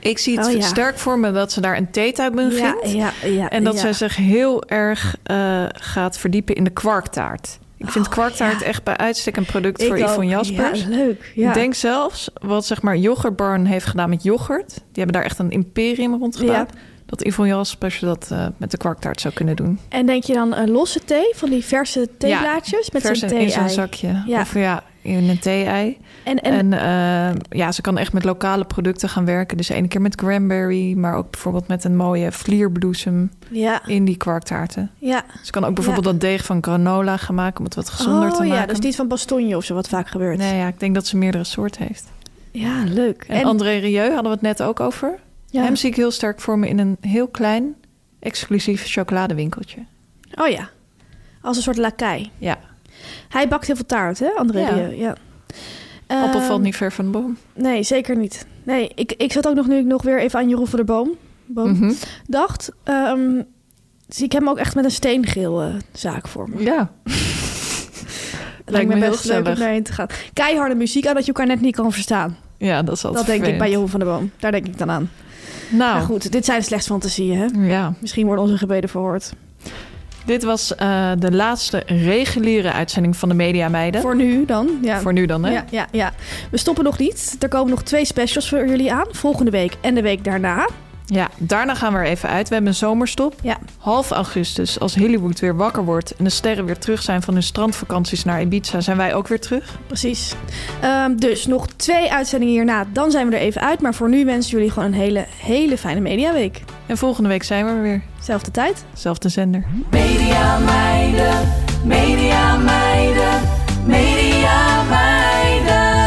Speaker 2: Ik zie het
Speaker 3: Oh, ja.
Speaker 2: sterk voor me dat ze daar een theetuin begint.
Speaker 3: Ja, ja, ja.
Speaker 2: En dat
Speaker 3: ja.
Speaker 2: zij zich heel erg eh, gaat verdiepen in de kwarktaart. Ik vind
Speaker 3: Oh,
Speaker 2: kwarktaart
Speaker 3: ja.
Speaker 2: echt bij uitstek een product
Speaker 3: Ik
Speaker 2: voor Yvonne
Speaker 3: ook.
Speaker 2: Jaspers.
Speaker 3: Ja, leuk. Ja.
Speaker 2: Ik denk zelfs wat zeg maar yoghurtbarn heeft gedaan met yoghurt. Die hebben daar echt een imperium rond gedaan. Dat Yvonne Jaspers dat eh, met de kwarktaart zou kunnen doen.
Speaker 3: En denk je dan een losse thee van die verse theeblaadjes met
Speaker 2: Vers
Speaker 3: zo'n
Speaker 2: in- in zo'n
Speaker 3: thee-ei?
Speaker 2: zakje.
Speaker 3: Ja.
Speaker 2: Of ja, in een thee-ei.
Speaker 3: En,
Speaker 2: En,
Speaker 3: en,
Speaker 2: eh, ja, ze kan echt met lokale producten gaan werken. Dus ene keer met cranberry, maar ook bijvoorbeeld met een mooie vlierbloesem
Speaker 3: ja,
Speaker 2: in die kwarktaarten.
Speaker 3: ja.
Speaker 2: Ze kan ook bijvoorbeeld dat deeg van granola gaan maken om het wat gezonder
Speaker 3: oh,
Speaker 2: te maken.
Speaker 3: ja, dus niet van bastonje of zo wat vaak gebeurt.
Speaker 2: Nee, ja, ik denk dat ze meerdere soorten heeft.
Speaker 3: Ja, leuk.
Speaker 2: En, André Rieu hadden we het net ook over.
Speaker 3: ja.
Speaker 2: Hem zie ik heel sterk voor me in een heel klein, exclusief chocoladewinkeltje.
Speaker 3: Oh ja, als een soort lakai.
Speaker 2: Ja,
Speaker 3: Hij bakt heel veel taart, hè, André?
Speaker 2: Ja.
Speaker 3: Rieu? ja.
Speaker 2: appel
Speaker 3: Ehm,
Speaker 2: valt niet ver van de boom.
Speaker 3: Nee, zeker niet. Nee, ik, ik zat ook nog nu ik nog weer even aan Jeroen van der Boom, boom
Speaker 2: Mhm.
Speaker 3: dacht. ehm, zie ik hem ook echt met een steengeel eh, zaak voor me.
Speaker 2: Ja,
Speaker 3: Het lijkt me
Speaker 2: me heel
Speaker 3: best leuk om
Speaker 2: gezellig.
Speaker 3: daarheen te gaan. Keiharde muziek aan dat je elkaar net niet kan verstaan.
Speaker 2: ja, dat is altijd
Speaker 3: dat denk ik
Speaker 2: vervelend.
Speaker 3: bij Jeroen van der Boom. Daar denk ik dan aan. Maar
Speaker 2: Nou,
Speaker 3: goed, dit zijn slechts fantasieën. Hè?
Speaker 2: ja.
Speaker 3: Misschien worden onze gebeden verhoord.
Speaker 2: Dit was eh, de laatste reguliere uitzending van de Media Meiden.
Speaker 3: Voor nu dan. Ja.
Speaker 2: Voor nu dan, hè?
Speaker 3: Ja, ja, ja. We stoppen nog niet. Er komen nog twee specials voor jullie aan. Volgende week en de week daarna.
Speaker 2: Ja, daarna gaan we er even uit. We hebben een zomerstop.
Speaker 3: Ja.
Speaker 2: Half augustus, als Hollywood weer wakker wordt en de sterren weer terug zijn van hun strandvakanties naar Ibiza, zijn wij ook weer terug.
Speaker 3: Precies. Ehm, dus nog twee uitzendingen hierna. Dan zijn we er even uit. Maar voor nu wensen jullie gewoon een hele, hele fijne mediaweek.
Speaker 2: En volgende week zijn we er weer.
Speaker 3: Zelfde tijd.
Speaker 2: Zelfde zender.
Speaker 5: Media meiden, media meiden, media meiden.